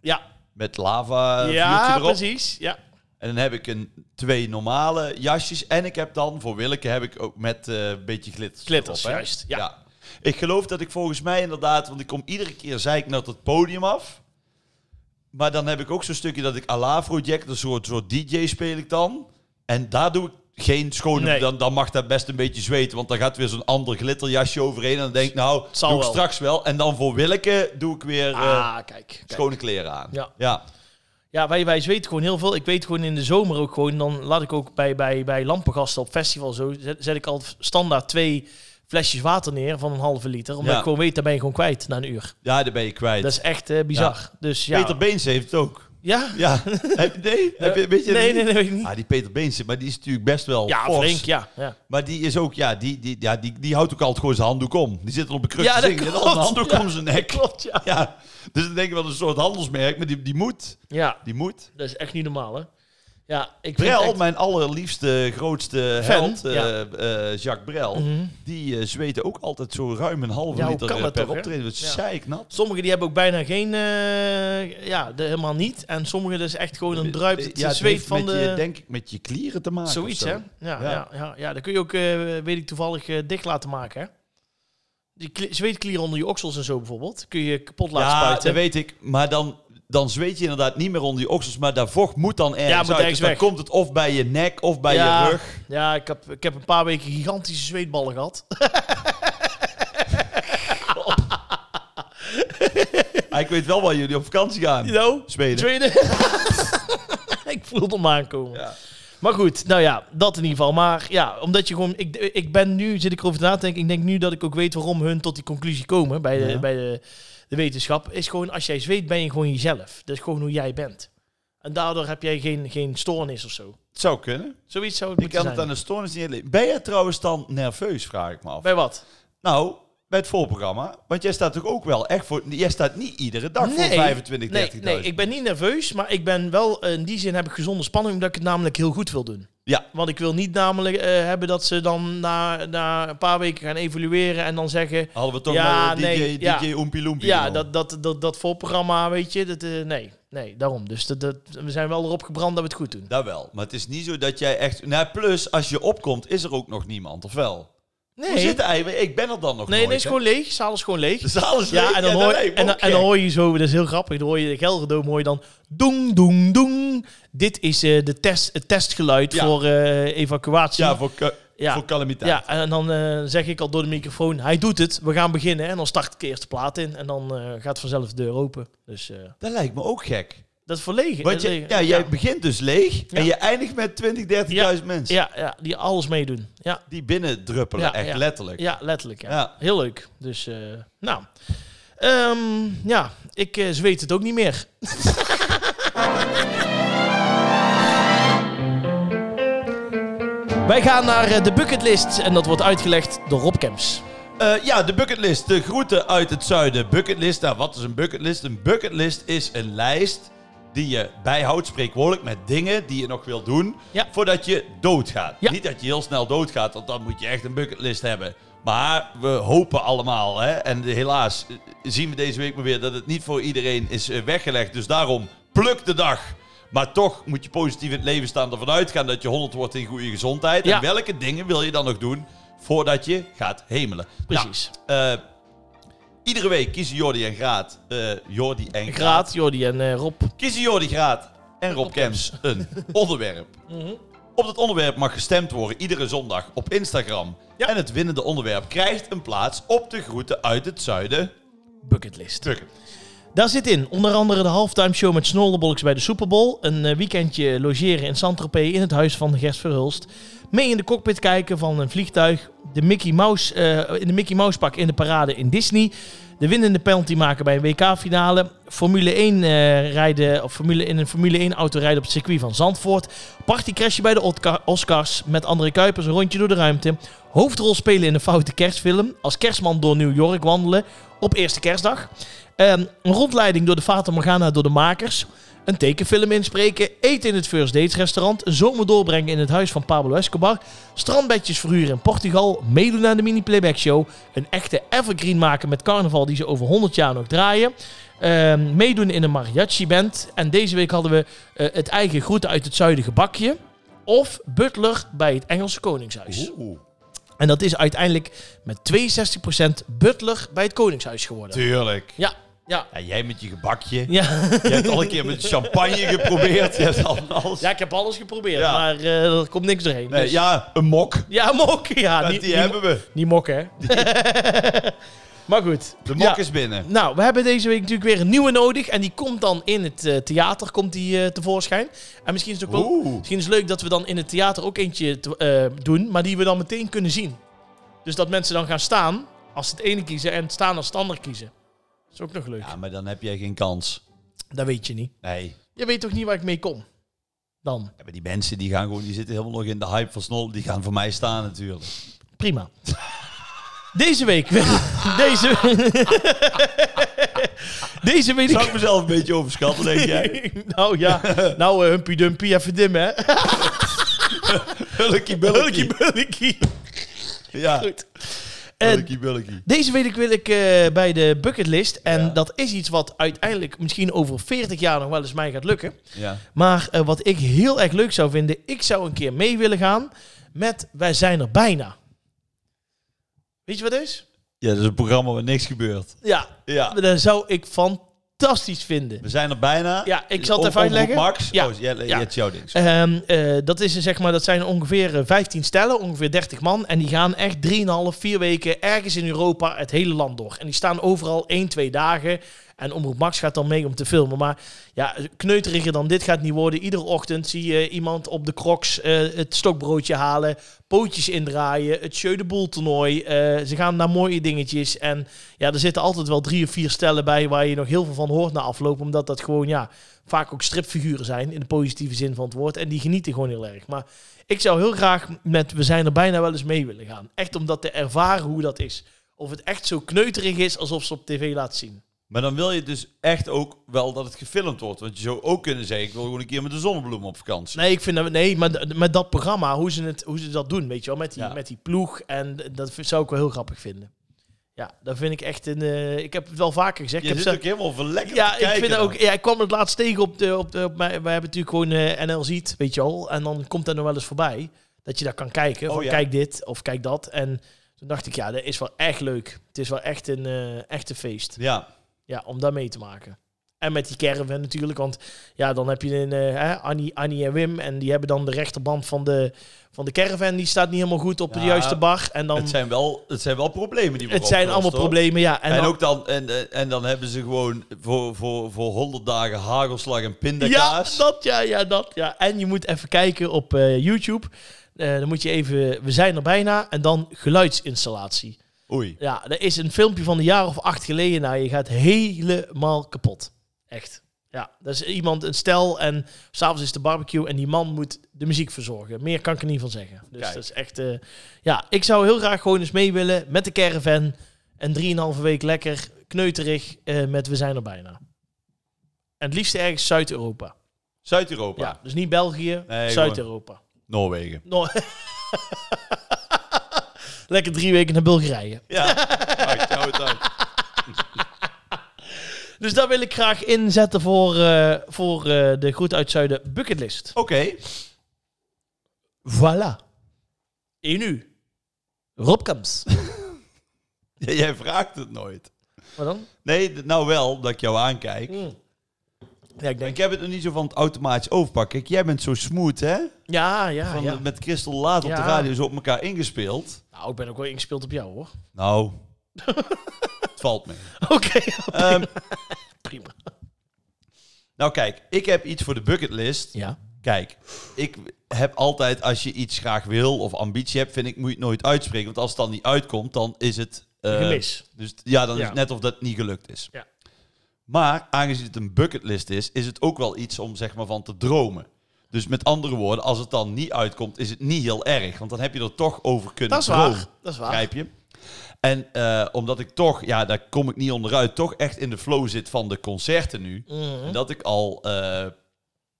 Ja, met lava ja Eh, vuurtje erop. precies. Ja. En dan heb ik een, twee normale jasjes. En ik heb dan, voor Willeke, heb ik ook met eh, een beetje glitters. Glitters, erop, hè? juist, ja. Ik geloof dat ik volgens mij inderdaad, want ik kom iedere keer zeik naar het podium af. Maar dan heb ik ook zo'n stukje dat ik Alafro Jack, een soort, soort DJ speel ik dan. En daar doe ik geen schone... Nee. Dan, dan mag dat best een beetje zweten, want dan gaat weer zo'n ander glitterjasje overheen. En dan denk ik, nou, zal doe ik wel. straks wel. En dan voor Willeke doe ik weer eh, Ah, kijk. kijk. schone kleren aan. Ja. ja. Ja, wij, wij zweten gewoon heel veel. Ik weet gewoon in de zomer ook gewoon, dan laat ik ook bij, bij, bij lampengasten op festival zo, zet, zet ik al standaard twee flesjes water neer van een halve liter. Omdat Ja. ik gewoon weet, daar ben je gewoon kwijt na een uur. Ja, daar ben je kwijt. Dat is echt eh, bizar. Dus ja. Peter Beens heeft het ook. ja? Eh, Ja, heb je, nee? Heb je, weet je Ah, nee, die- nee, nee, weet ik niet. Ah, die Peter Beense, maar die is natuurlijk best wel Ja, fors. flink, ja. ja. Maar die is ook, ja, die, die, ja die, die houdt ook altijd gewoon zijn handdoek om. Die zit er op een kruk Ja, te dat zingen en klopt. dan een handdoek om zijn nek. Klopt, ja. Ja, dus dan denk ik wel een soort handelsmerk, maar die, die moet. Ja, Die moet. dat is echt niet normaal, hè? Ja, ik vind Brel, echt- mijn allerliefste, grootste Fan, held, eh, ja. eh, Jacques Brel, Mhm. die eh zweten ook altijd zo ruim een halve Ja, hoe liter kan eh, dat per toch, hè? optreden. Dat is Ja. zeiknat. Sommigen die hebben ook bijna geen... eh, ja, de- helemaal niet. En sommigen dus echt gewoon een druip. Het Ja, het zweet heeft van met de... je, denk ik, met je klieren te maken. of Zoiets, zo. hè? Ja, ja. Ja. Ja, ja, dat kun je ook, eh, weet ik toevallig, eh, dicht laten maken, hè? Die kli- zweetklieren onder je oksels en zo bijvoorbeeld, kun je kapot laten ja, spuiten. dat weet ik. Maar dan, dan zweet je inderdaad niet meer onder je oksels. Maar dat vocht moet dan ergens Ja, moet uit. ergens dus dan weg. komt het of bij je nek of bij ja, je rug. Ja, ik heb, ik heb een paar weken gigantische zweetballen gehad. Ah, ik weet wel waar jullie op vakantie gaan. Nou, Zweden. tweede. ik voelde hem aankomen. Ja. Maar goed, nou ja, dat in ieder geval. Maar ja, omdat je gewoon... Ik, ik ben nu, zit ik erover na te denken... Ik denk nu dat ik ook weet waarom hun tot die conclusie komen... bij de, Ja. bij de, de wetenschap. Is gewoon, als jij zweet, ben je gewoon jezelf. Dat is gewoon hoe jij bent. En daardoor heb jij geen, geen stoornis of zo. Het zou kunnen. Zoiets zou het Ik moeten kan het zijn. aan de stoornis niet uitleggen. Ben jij trouwens dan nerveus, vraag ik me af. Bij wat? Nou, bij het voorprogramma. Want jij staat toch ook wel echt voor... Jij staat niet iedere dag voor 25, 30.000. nee, nee, ik ben niet nerveus, maar ik ben wel... eh, In die zin heb ik gezonde spanning... omdat ik het namelijk heel goed wil doen. Ja. Want ik wil niet namelijk eh, hebben dat ze dan na, na een paar weken gaan evalueren... en dan zeggen... Hadden we toch Ja, maar, eh, DJ, nee, ja. DJ Oempie Loempie Ja, genoemd. dat, dat, dat, dat voorprogramma, weet je, dat, eh, nee, nee, daarom. Dus dat, dat, we zijn wel erop gebrand dat we het goed doen. Dat wel. Maar het is niet zo dat jij echt... Nou, plus, als je opkomt, is er ook nog niemand, of wel? Hoe Nee, zit de ei? Ik ben er dan nog nee, nooit, nee, is hè? gewoon leeg, de zaal is gewoon leeg. De zaal is Ja, leeg. en dan, dat hoor, lijkt me en, dan, ook en dan gek. hoor je zo, dat is heel grappig, dan hoor je de Gelderdoom, hoor je dan doeng, doeng, doeng. Dit is eh, de test, het testgeluid Ja. voor eh, evacuatie. Ja, voor, ca- Ja. voor calamiteit. Ja, en dan eh, zeg ik al door de microfoon, hij doet het, we gaan beginnen. En dan start ik de eerste plaat in en dan eh, gaat vanzelf de deur open. Dus eh, Dat lijkt me ook gek. dat is eh, verlegen. Want je, leeg. ja, jij begint dus leeg en je eindigt met 20, 30.000 mensen. ja, ja, die alles meedoen. Ja. Die binnendruppelen, Ja, echt ja. letterlijk. Ja, letterlijk. Ja. Ja. Heel leuk. Dus, eh, nou. Ehm, ja, ik eh, zweet het ook niet meer. Wij gaan naar eh, de bucketlist en dat wordt uitgelegd door Rob Kemps. Eh, ja, de bucketlist. De groeten uit het zuiden. Bucketlist. Nou, wat is een bucketlist? Een bucketlist is een lijst die je bijhoudt, spreekwoordelijk, met dingen die je nog wil doen Ja. voordat je doodgaat. Ja. Niet dat je heel snel doodgaat, want dan moet je echt een bucketlist hebben. Maar we hopen allemaal, hè, en helaas eh, zien we deze week maar weer dat het niet voor iedereen is eh, weggelegd. Dus daarom, pluk de dag. Maar toch moet je positief in het leven staan, ervan uitgaan dat je 100 wordt in goede gezondheid. Ja. En welke dingen wil je dan nog doen voordat je gaat hemelen? Precies. Nou, eh, iedere week kiezen Jordi en Graat. eh, Jordi en Graat. Graat, Jordi en eh, Rob. Kiezen Jordi Graat en Rob Kems een onderwerp. Mhm. Op dat onderwerp mag gestemd worden iedere zondag op Instagram. Ja. En het winnende onderwerp krijgt een plaats op de groeten uit het zuiden. Bucketlist. Stukken. Daar zit in onder andere de halftime show met Snollebolks bij de Super Bowl. Een eh, weekendje logeren in Saint-Tropez in het huis van Gert Verhulst. Mee in de cockpit kijken van een vliegtuig. De Mickey Mouse, eh, in de Mickey Mouse pak in de parade in Disney. De winnende penalty maken bij een WK-finale. Formule 1 eh, rijden, of Formule, in een Formule 1-auto rijden op het circuit van Zandvoort. Partycrashje bij de Otca- Oscars met André Kuipers, een rondje door de ruimte. Hoofdrol spelen in een foute kerstfilm. Als kerstman door New York wandelen op eerste kerstdag. Ehm, een rondleiding door de Fata Morgana door de makers. Een tekenfilm inspreken. Eten in het First Dates restaurant. Een zomer doorbrengen in het huis van Pablo Escobar. Strandbedjes verhuren in Portugal. Meedoen aan de mini-playback show. Een echte evergreen maken met carnaval die ze over 100 jaar nog draaien. Ehm, meedoen in een mariachi band. En deze week hadden we eh, het eigen groeten uit het zuiden gebakje. Of butler bij het Engelse Koningshuis. Oeh. En dat is uiteindelijk met 62% butler bij het Koningshuis geworden. Tuurlijk. Ja, ja. Ja, jij met je gebakje. Ja. Je hebt al een keer met champagne geprobeerd. Je hebt al alles. ja, ik heb alles geprobeerd, Ja. maar eh, er komt niks doorheen. Nee, dus- ja, een mok. ja, mok. Ja, Dat niet, die niet- hebben we. niet mok, hè. maar goed. De mok Ja. is binnen. Nou, we hebben deze week natuurlijk weer een nieuwe nodig. En die komt dan in het eh, theater komt die, eh, tevoorschijn. En misschien is het ook wel... Oeh. Misschien is het leuk dat we dan in het theater ook eentje te- eh, doen, maar die we dan meteen kunnen zien. Dus dat mensen dan gaan staan als ze het ene kiezen en staan als het ander kiezen. Dat is ook nog leuk. Ja, maar dan heb jij geen kans. Dat weet je niet. Nee. Je weet toch niet waar ik mee kom? Dan. Ja, maar die mensen die gaan gewoon, die zitten helemaal nog in de hype van Snol. Die gaan voor mij staan natuurlijk. Prima. Deze week. Deze, Deze week. Zou ik mezelf een beetje overschatten, denk jij? nou ja. Nou, eh, Humpy Dumpy, even dim, hè? Hulkie Hulkie bulkie. bulkie. Ja, Goed. En hulkie bulkie. deze week wil ik eh, bij de bucketlist. En Ja. dat is iets wat uiteindelijk misschien over 40 jaar nog wel eens mij gaat lukken. Ja. Maar eh, wat ik heel erg leuk zou vinden, ik zou een keer mee willen gaan met Wij zijn er bijna. Weet je wat het is? ja, dat is een programma waar niks gebeurt. Ja, Ja, dat zou ik fantastisch vinden. we zijn er bijna. Ja, ik zal het Om- even omroep uitleggen. Max, Ja. ja. Oh, jij, jij Ja. hebt jouw ding. Ehm, eh, dat, is, eh, zeg maar, dat zijn ongeveer eh, 15 stellen, ongeveer 30 man. En die gaan echt 3,5, 4 weken ergens in Europa het hele land door. En die staan overal 1, 2 dagen. En Omroep Max gaat dan mee om te filmen. Maar ja, kneuteriger dan dit gaat niet worden. Iedere ochtend zie je iemand op de crocs eh, het stokbroodje halen. Pootjes indraaien. Het Jeu de Boel toernooi. eh, ze gaan naar mooie dingetjes. En ja, er zitten altijd wel drie of vier stellen bij waar je nog heel veel van hoort na afloop. Omdat dat gewoon, ja, vaak ook stripfiguren zijn. In de positieve zin van het woord. En die genieten gewoon heel erg. Maar ik zou heel graag met We zijn er bijna wel eens mee willen gaan. Echt om dat te ervaren hoe dat is. Of het echt zo kneuterig is alsof ze op tv laten zien. Maar dan wil je dus echt ook wel dat het gefilmd wordt. Want je zou ook kunnen zeggen, ik wil gewoon een keer met de zonnebloem op vakantie. Nee, ik vind dat, nee maar d- met dat programma, hoe ze, het, hoe ze dat doen, weet je wel, met die, Ja. met die ploeg. En d- dat vind- zou ik wel heel grappig vinden. Ja, dat vind ik echt een. eh, ik heb het wel vaker gezegd. Je ik heb zit ze- ook helemaal voor lekker ja, te ik kijken. vind dat dan. ook. Ja, ik kwam het laatst tegen op de. Op de op mijn- wij hebben natuurlijk gewoon eh, NL ziet, weet je al. En dan komt dat nog wel eens voorbij. Dat je daar kan kijken. Oh, van, ja. Kijk dit of kijk dat. En toen dacht ik, ja, dat is wel echt leuk. Het is wel echt een eh, echt een feest. Ja, Ja, om daar mee te maken. En met die caravan natuurlijk, want ja, dan heb je een, eh, hè, Annie, Annie en Wim. En die hebben dan de rechterband van de, van de caravan. Die staat niet helemaal goed op de Ja, juiste bar. En dan, het, zijn wel, het zijn wel problemen die worden het zijn allemaal opgelost, hoor. problemen, ja. En, dan- ook dan, en, eh, en- en dan hebben ze gewoon voor, voor, voor 100 dagen hagelslag en Ja, pindakaas. dat, ja, ja, dat, ja. En je moet even kijken op eh, YouTube. Eh, dan moet je even, we zijn er bijna, en dan geluidsinstallatie. Oei. Ja, dat is een filmpje van een jaar of acht geleden. Nou, je gaat helemaal kapot. Echt. Ja, dat is iemand, een stel, en s'avonds is de barbecue en die man moet de muziek verzorgen. Meer kan ik er niet van zeggen. Dus Kijk. dat is echt, eh, ja, ik zou heel graag gewoon eens mee willen met de caravan. En drieënhalve week lekker, kneuterig, eh, met we zijn er bijna. En het liefst ergens Zuid-Europa. Zuid-Europa. Ja, dus niet België, Nee, Zuid-Europa. Noorwegen. No- Lekker drie weken naar Bulgarije. Ja, maakt jou het uit. Dus daar wil ik graag inzetten voor, eh, voor eh, de Groet uit Zuiden bucketlist. Oké. Voilà. En nu? Rob Kamps. J- Jij vraagt het nooit. Wat dan? Hmm. Nee, d- nou wel, dat ik jou aankijk. Ja, ik denk... Ik heb het nog niet zo van het automatisch overpakken. Kijk, jij bent zo smooth, hè? Ja, ja, Van, ja. Met Christel laat op Ja. de radio zo op elkaar ingespeeld. Nou, ik ben ook wel ingespeeld op jou, hoor. Nou, het valt mee. Oké, Ehm, prima. nou kijk, ik heb iets voor de bucketlist. Ja. Kijk, ik heb altijd, als je iets graag wil of ambitie hebt, vind ik, moet je het nooit uitspreken. Want als het dan niet uitkomt, dan is het... eh, Gemis. Dus t- ja, dan is Ja. het net of dat niet gelukt is. Ja. Maar aangezien het een bucketlist is, is het ook wel iets om zeg maar van te dromen. Dus met andere woorden, als het dan niet uitkomt, is het niet heel erg. Want dan heb je er toch over kunnen Dat is dromen. waar. Dat is waar. Begrijp je? En eh, omdat ik toch, ja, daar kom ik niet onderuit, toch echt in de flow zit van de concerten nu. Mhm. En dat ik al eh,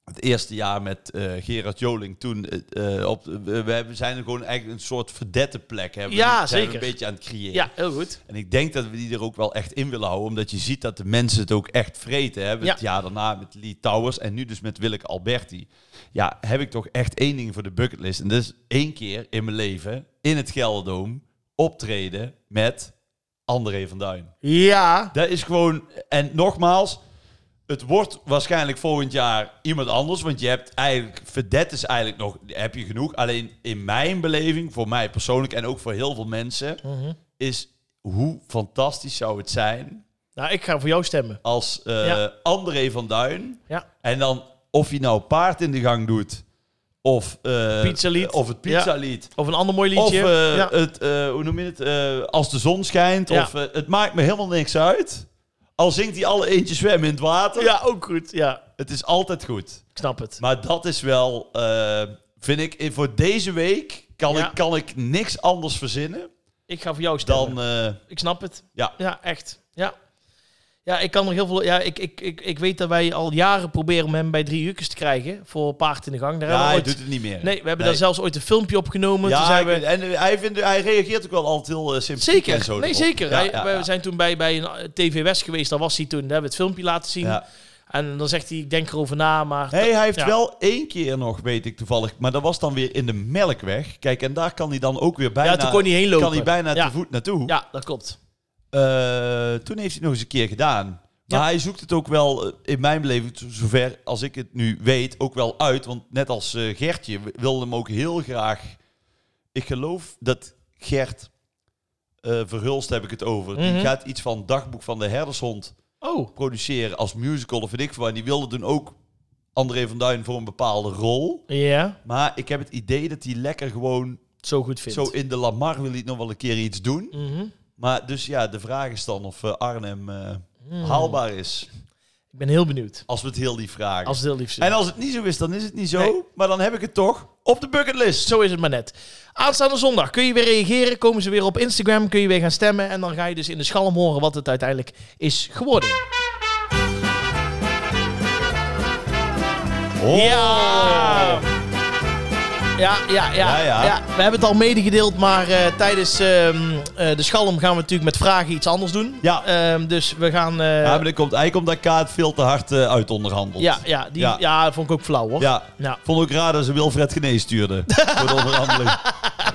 het eerste jaar met eh, Gerard Joling toen eh, eh, op, we, we hebben- zijn er gewoon eigenlijk een soort verdette plek hebben. Ja, Die zijn we zeker. een beetje aan het creëren. Ja, heel goed. En ik denk dat we die er ook wel echt in willen houden, omdat je ziet dat de mensen het ook echt vreten. Hè? Het Ja. jaar daarna met Lee Towers en nu dus met Willeke Alberti. Ja, heb ik toch echt één ding voor de bucketlist. En dat is één keer in mijn leven in het Gelderdoom optreden met André van Duin. Ja. Dat is gewoon, en nogmaals, het wordt waarschijnlijk volgend jaar iemand anders. Want je hebt eigenlijk, verdet is eigenlijk nog, heb je genoeg. Alleen in mijn beleving, voor mij persoonlijk en ook voor heel veel mensen, Mhm. is hoe fantastisch zou het zijn Nou, ik ga voor jou stemmen. als eh, Ja. André van Duin. Ja. En dan of hij nou paard in de gang doet, of, eh, Pizzalied. of het pizzalied. Of een ander mooi Of liedje. eh, ja. het, eh, hoe noem je het? eh, als de zon schijnt. Ja. Of, eh, het maakt me helemaal niks uit. Al zingt hij alle eentje zwemmen in het water. ja, ook goed. Ja, Het is altijd goed. ik snap het. Maar dat is wel, eh, vind ik, eh, voor deze week kan, Ja. ik, kan ik niks anders verzinnen Ik ga voor jou stemmen. dan. eh, Ik snap het. Ja. Ja, echt. Ja. Ja, ik kan nog heel veel. Ja, ik, ik, ik, ik weet dat wij al jaren proberen om hem bij drie uurkes te krijgen voor Paard in de Gang. Daar ja, hij hebben we doet ooit... het niet meer. Nee, we hebben daar zelf. zelfs ooit een filmpje opgenomen. Ja, Toen zijn we... ik- en eh, hij, vindt, hij reageert ook wel altijd heel eh, sympathiek en Zeker. zo. Nee, erop. zeker. Ja, Hij- ja, we ja. zijn toen bij, bij een eh, TV West geweest. Daar was hij toen. Daar hebben we het filmpje laten zien. Ja. En dan zegt hij, ik denk erover na, maar... Nee, hij heeft Ja. wel één keer nog, weet ik toevallig. Maar dat was dan weer in de Melkweg. Kijk, en daar kan hij dan ook weer bijna... ja, toen kon hij heen lopen. Kan hij bijna ja. te voet naartoe. Ja, dat klopt. Eh, toen heeft hij het nog eens een keer gedaan. Maar Ja. hij zoekt het ook wel, eh, in mijn beleving, t- zover als ik het nu weet, ook wel uit. Want net als eh, Gertje w- wilde hem ook heel graag... Ik geloof dat Gert... eh, Verhulst heb ik het over. Mhm. Die gaat iets van Dagboek van de Herdershond Oh. produceren als musical of weet ik veel. En die wilde toen ook André van Duin voor een bepaalde rol. Ja, Maar ik heb het idee dat hij lekker gewoon zo goed vindt. zo in de Lamar wil hij nog wel een keer iets doen. Mhm. Maar dus ja, de vraag is dan of eh, Arnhem eh, Hmm. haalbaar is. Ik ben heel benieuwd. Als we het heel lief vragen. Als het heel lief is. En als het niet zo is, dan is het niet zo. Nee. Maar dan heb ik het toch op de bucketlist. Zo is het maar net. Aanstaande zondag kun je weer reageren. Komen ze weer op Instagram. Kun je weer gaan stemmen. En dan ga je dus in de schalm horen wat het uiteindelijk is geworden. Oh. Ja! Ja, ja, ja, Ja, ja. We hebben het al medegedeeld, maar eh, tijdens ehm, eh, de schalm gaan we natuurlijk met vragen iets anders doen. Ja. Ehm, dus we gaan... eh, Ja, maar dat komt eigenlijk omdat Kaat veel te hard eh, uit onderhandelt. ja, ja, die, ja. Ja. dat vond ik ook flauw hoor. Ja. Nou, Vond ook raar dat ze Wilfred Genee stuurde. voor de onderhandeling.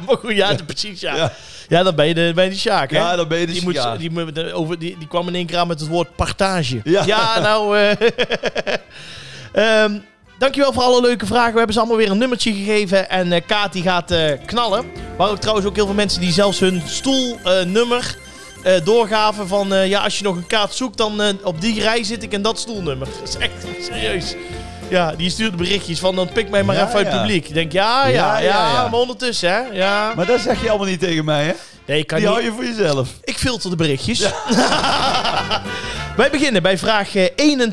maar goed, ja, precies ja. ja. Ja. dan ben je de, ben je de Sjaak hè? Ja, dan ben je de Die, moet, Sjaak. die, moet- de- over, die, die kwam in één keer aan met het woord partage. Ja, Ja. nou. eh, ehm, dankjewel voor alle leuke vragen. We hebben ze allemaal weer een nummertje gegeven. En eh, Kaat die gaat eh, knallen. Maar ook trouwens ook heel veel mensen die zelfs hun stoelnummer eh doorgaven. Van eh, ja, als je nog een kaart zoekt, dan eh, op die rij zit ik en dat stoelnummer. Dat is echt serieus. Ja, die stuurt berichtjes van dan pik mij maar Ja, even uit het ja. publiek. Ik denk ja, ja, ja, Ja, ja, ja. maar ondertussen hè. Ja. Maar dat zeg je allemaal niet tegen mij, hè? Nee, ik kan Die niet. hou je voor jezelf. Ik filter de berichtjes. Wij beginnen bij vraag eh,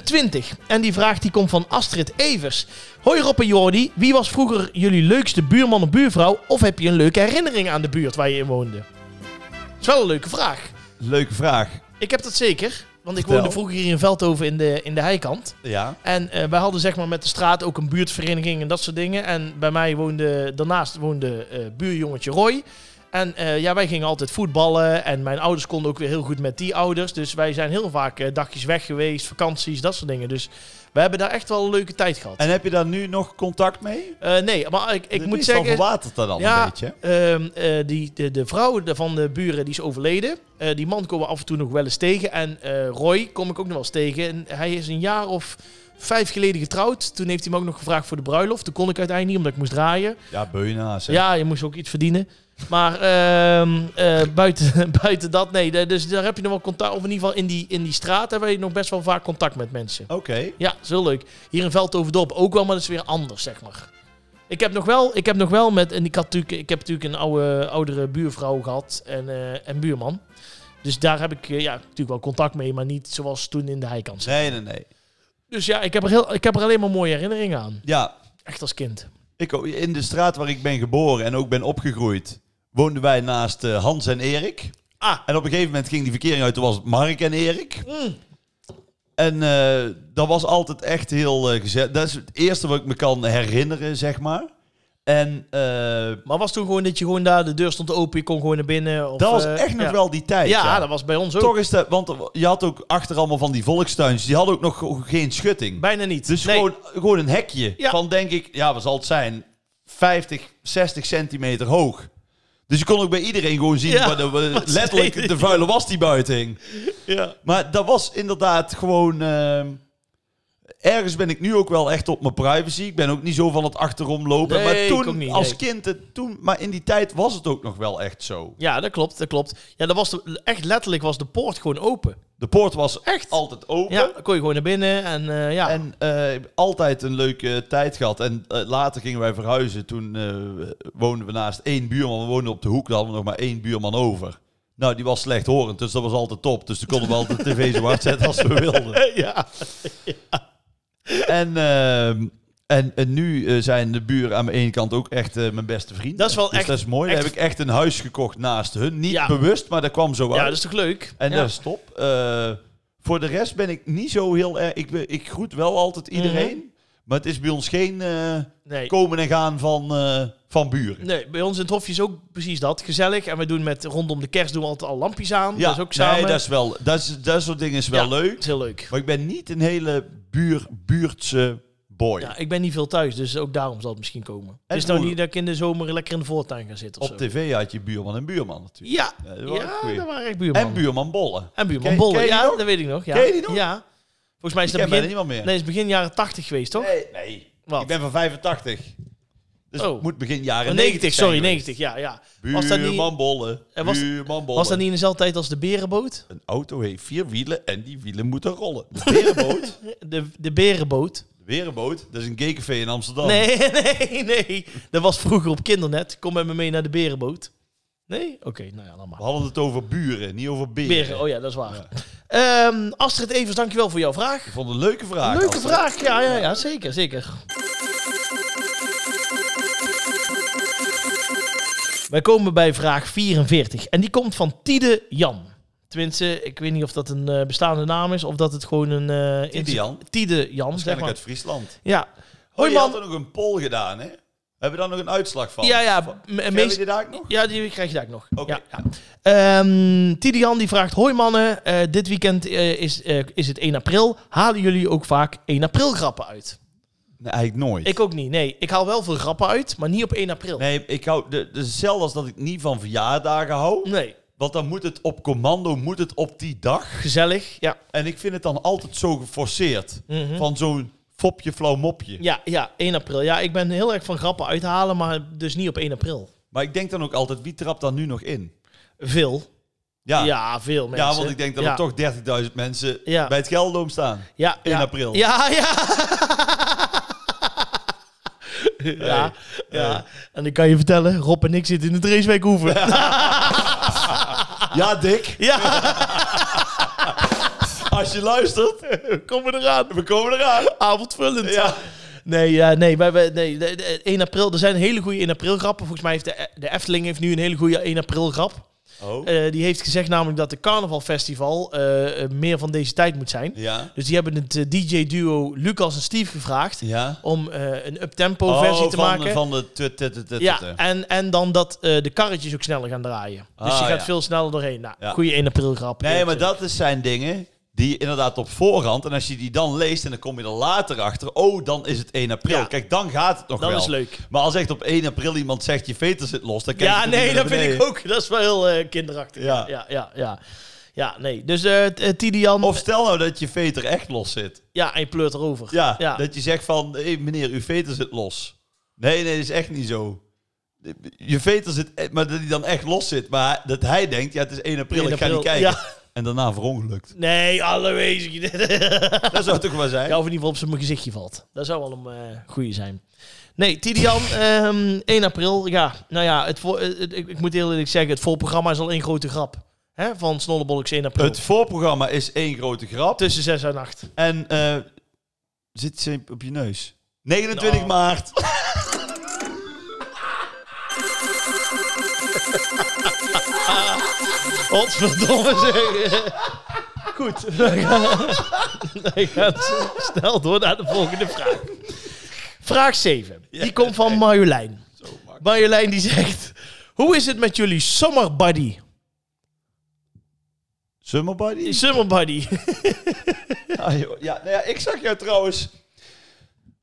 21. En die vraag die komt van Astrid Evers. Hoi Rob en Jordi, wie was vroeger jullie leukste buurman of buurvrouw? Of heb je een leuke herinnering aan de buurt waar je in woonde? Dat is wel een leuke vraag. Leuke vraag. Ik heb dat zeker. Want ik Vertel. woonde vroeger hier in Veldhoven in de, in de heikant. Ja. En eh, wij hadden zeg maar met de straat ook een buurtvereniging en dat soort dingen. En bij mij woonde, daarnaast woonde eh, buurjongetje Roy. En eh, ja, wij gingen altijd voetballen. En mijn ouders konden ook weer heel goed met die ouders. Dus wij zijn heel vaak eh, dagjes weg geweest, vakanties, dat soort dingen. Dus we hebben daar echt wel een leuke tijd gehad. En heb je daar nu nog contact mee? Eh, nee, maar ik, ik De moet meestal zeggen... verwatert dat dan Ja. een beetje. Ehm, eh, die, de, de vrouw de- van de buren die is overleden. Eh, die man komen we af en toe nog wel eens tegen. En eh, Roy kom ik ook nog wel eens tegen. En hij is een jaar of vijf geleden getrouwd. Toen heeft hij me ook nog gevraagd voor de bruiloft. Toen kon ik uiteindelijk niet, omdat ik moest draaien. Ja, beuna's. Ja. Ja, je moest ook iets verdienen. Maar ehm, eh, buiten, buiten dat, nee. De- Dus daar heb je nog wel contact. Of in ieder geval in die, in die straat hebben we nog best wel vaak contact met mensen. Oké. Ja, dat is heel leuk. Hier in Veldhovendorp ook wel, maar dat is weer anders, zeg maar. Ik heb nog wel, ik heb nog wel met, en ik, had natuurlijk, ik heb natuurlijk een oude, oudere buurvrouw gehad en, eh, en buurman. Dus daar heb ik eh, ja, natuurlijk wel contact mee, maar niet zoals toen in de heikans. Nee, nee, nee. Dus ja, ik heb, er heel, ik heb er alleen maar mooie herinneringen aan. Ja, Echt als kind. ik, ook- in de straat waar ik ben geboren en ook ben opgegroeid, woonden wij naast eh, Hans en Erik. Ah. En op een gegeven moment ging die verkering uit, toen was het Mark en Erik. Mm. En eh, dat was altijd echt heel eh, gezellig. Dat is het eerste wat ik me kan herinneren, zeg maar. En eh, Maar was toen gewoon dat je gewoon daar, de deur stond open, je kon gewoon naar binnen? Of, dat was eh, echt nog ja. wel die tijd. Ja, dat was bij ons ook. Toch is dat, want er- je had ook achter allemaal van die volkstuintjes, die hadden ook nog ge- geen schutting. Bijna niet. Dus Nee. gewoon, gewoon een hekje Ja. van, denk ik, ja, wat zal het zijn? 50, 60 centimeter hoog. Dus je kon ook bij iedereen gewoon zien, Ja, waar de- waar- wat ze letterlijk deden. de vuile was die buiten hing. Ja. Maar dat was inderdaad gewoon... ehm, ergens ben ik nu ook wel echt op mijn privacy. Ik ben ook niet zo van het achterom lopen. Nee, ik maar ook toen, niet, als nee. kind, het, toen, maar in die tijd was het ook nog wel echt zo. ja, dat klopt, dat klopt. Ja, dat was de- echt letterlijk was de poort gewoon open. De poort was Echt? altijd open. Ja, dan kon je gewoon naar binnen en eh, ja. En eh, altijd een leuke tijd gehad. En eh, later gingen wij verhuizen. Toen eh, woonden we naast één buurman. We woonden op de hoek. Daar hadden we nog maar één buurman over. Nou, die was slechthorend. Dus dat was altijd top. Dus toen konden we altijd de tv zo hard zetten als we wilden. ja. En, ehm, en, en nu eh, zijn de buren aan mijn ene kant ook echt eh, mijn beste vrienden. Dat is wel Dus echt- dat is mooi. echt- Daar heb ik echt een huis gekocht naast hun. Niet Ja. bewust, maar dat kwam zo uit. ja, dat is toch leuk? En dus? ja. dat is top. Eh, voor de rest ben ik niet zo heel erg... Ik, ben- ik groet wel altijd iedereen. Mhm. Maar het is bij ons geen eh, nee. komen en gaan van, eh, van buren. nee, bij ons in het hofje is ook precies dat. Gezellig. En we doen met rondom de kerst doen we altijd al lampjes aan. Ja, dat is ook samen. Nee, dat, is wel, dat, is, dat soort dingen is wel Ja. leuk. is heel leuk. Maar ik ben niet een hele buur, buurtse boy. Ja, ik ben niet veel thuis, dus ook daarom zal het misschien komen. En het is nou hoe- niet dat ik in de zomer lekker in de voortuin ga zitten of Op zo. tv had je buurman en buurman natuurlijk. Ja, Ja, dat was ook ja goeie. dat waren echt buurman. En buurman Bollen. En buurman Ken- Bolle. ken je die Ja, nog? dat weet ik nog. Ja. Ken je die nog? Ja. Volgens mij is Ik dat ken bijna begin... niemand meer. Nee, het is begin jaren 80 geweest, toch? Oh, nee, nee. Wat? Ik ben van 85. Dus Oh. het moet begin Oh, jaren 90, 90, sorry, zijn geweest. 90. Ja, ja. Was dat niet- Buurman Bollen. En was- Buurman Bollen. Was dat niet in dezelfde tijd als de berenboot? Een auto heeft vier wielen en die wielen moeten rollen. De Berenboot. De, de berenboot. De Berenboot, dat is een gaycafé in Amsterdam. Nee, nee, nee. Dat was vroeger op kindernet. Kom met me mee naar de berenboot. Nee? Oké, nou ja, dan maar. We hadden het over buren, niet over beren. Beren, oh ja, dat is waar. Ehm Astrid Evers, dankjewel voor jouw vraag. Ik vond het een leuke vraag. Leuke Astrid. vraag, ja, ja, ja, zeker, zeker. Wij komen bij vraag 44 en die komt van Tide Jan. Tenminste, ik weet niet of dat een eh, bestaande naam is of dat het gewoon een... eh, Tide Insta- Jan? Tide Jan, zeg Waarschijnlijk maar. uit Friesland. Ja. Hoi Hoi man. had man. er nog een poll gedaan, hè? Hebben we daar nog een uitslag van? Ja, ja. me- Krijgen meest- we die daar ook nog? Ja, die krijg je daar ook nog. Oké. Ja, ja. Ehm, Tidian die vraagt: Hoi mannen, eh, dit weekend eh, is, eh, is het 1 april. Halen jullie ook vaak 1 april grappen uit? Nee, eigenlijk nooit. Ik ook niet. Nee, ik haal wel veel grappen uit, maar niet op 1 april. Nee. Nee, ik hou... de- de- Hetzelfde als dat ik niet van verjaardagen hou. Want dan moet het op commando, moet het op die dag. Gezellig. Ja. En ik vind het dan altijd zo geforceerd. Mhm. Van zo'n fopje, flauw mopje. ja, ja, 1 april. Ja, ik ben heel erg van grappen uithalen, maar dus niet op 1 april. Maar ik denk dan ook altijd, wie trapt dan nu nog in? Veel. Ja, Ja, ja, veel mensen. want ik denk dat ja. er toch 30.000 mensen Ja. bij het Gelderdoom staan. Ja, in ja. april. Ja, ja. ja, ja. En ik kan je vertellen, Rob en ik zitten in de Dreeswijk Hoeven. Ja, Dick, Ja, als je luistert, kom maar eraan. we komen eraan. Avondvullend. Ja. Nee, ja, nee, wij, wij- nee de- de- 1 april, er zijn hele goede 1 april grappen. Volgens mij heeft de, de Efteling heeft nu een hele goede 1 april grap. Oh. Eh, die heeft gezegd namelijk dat de carnavalfestival eh, eh, meer van deze tijd moet zijn. Ja. Dus die hebben het eh, DJ-duo Lucas en Steve gevraagd Ja. om eh, een uptempo versie Oh, te van, maken. Van eh. de tut, tut, tut, tut, tut. ja, en, en dan dat eh, de karretjes ook sneller gaan draaien. Dus Ah, je gaat ja. veel sneller doorheen. Nou, Ja. goede 1 april grap. eh, Nee, maar dat is zijn dingen die inderdaad op voorhand. En als je die dan leest en dan kom je er later achter. Oh, dan is het 1 april. Ja. Kijk, dan gaat het nog Dat wel. is leuk. Maar als echt op 1 april iemand zegt je veter zit los, dan kijk Ja, je natuurlijk nee, naar dat vind ik beneden. ook. Dat is wel heel eh, kinderachtig. Ja. Ja. Ja, ja, ja. Ja, nee. Dus eh t- eh, Tidian, Of stel nou dat je veter echt los zit. ja, hij pleurt erover. Ja, Ja. dat je zegt van, hé meneer, uw veter zit los. Nee, nee, dat is echt niet zo. Je veter zit, e- maar dat hij dan echt los zit. Maar dat hij denkt, ja, het is 1 april, 1 ik ga april, niet kijken. ja. En daarna verongelukt. Nee, alle wezen. Dat zou toch wel zijn? Ja, of in ieder geval op zijn gezichtje valt. Dat zou wel een eh, goeie zijn. Nee, Tidian, ehm, 1 april. Ja, nou ja, het voor, eh, het- ik, ik moet heel eerlijk zeggen, het voorprogramma is al één grote grap. Hè? Van Snollebolleks 1 april. Het voorprogramma is één grote grap. Tussen 6 en 8. En eh, zit ze op je neus. 29 Nou. maart. Godverdomme zeg. Goed. Dan gaan- dan gaan we snel door naar de volgende vraag. Vraag 7. Die komt van Marjolein. Marjolein die zegt... Hoe is het met jullie summer buddy? Summer body? Summer buddy. Ah, joh. ja, nou ja, ik zag jou trouwens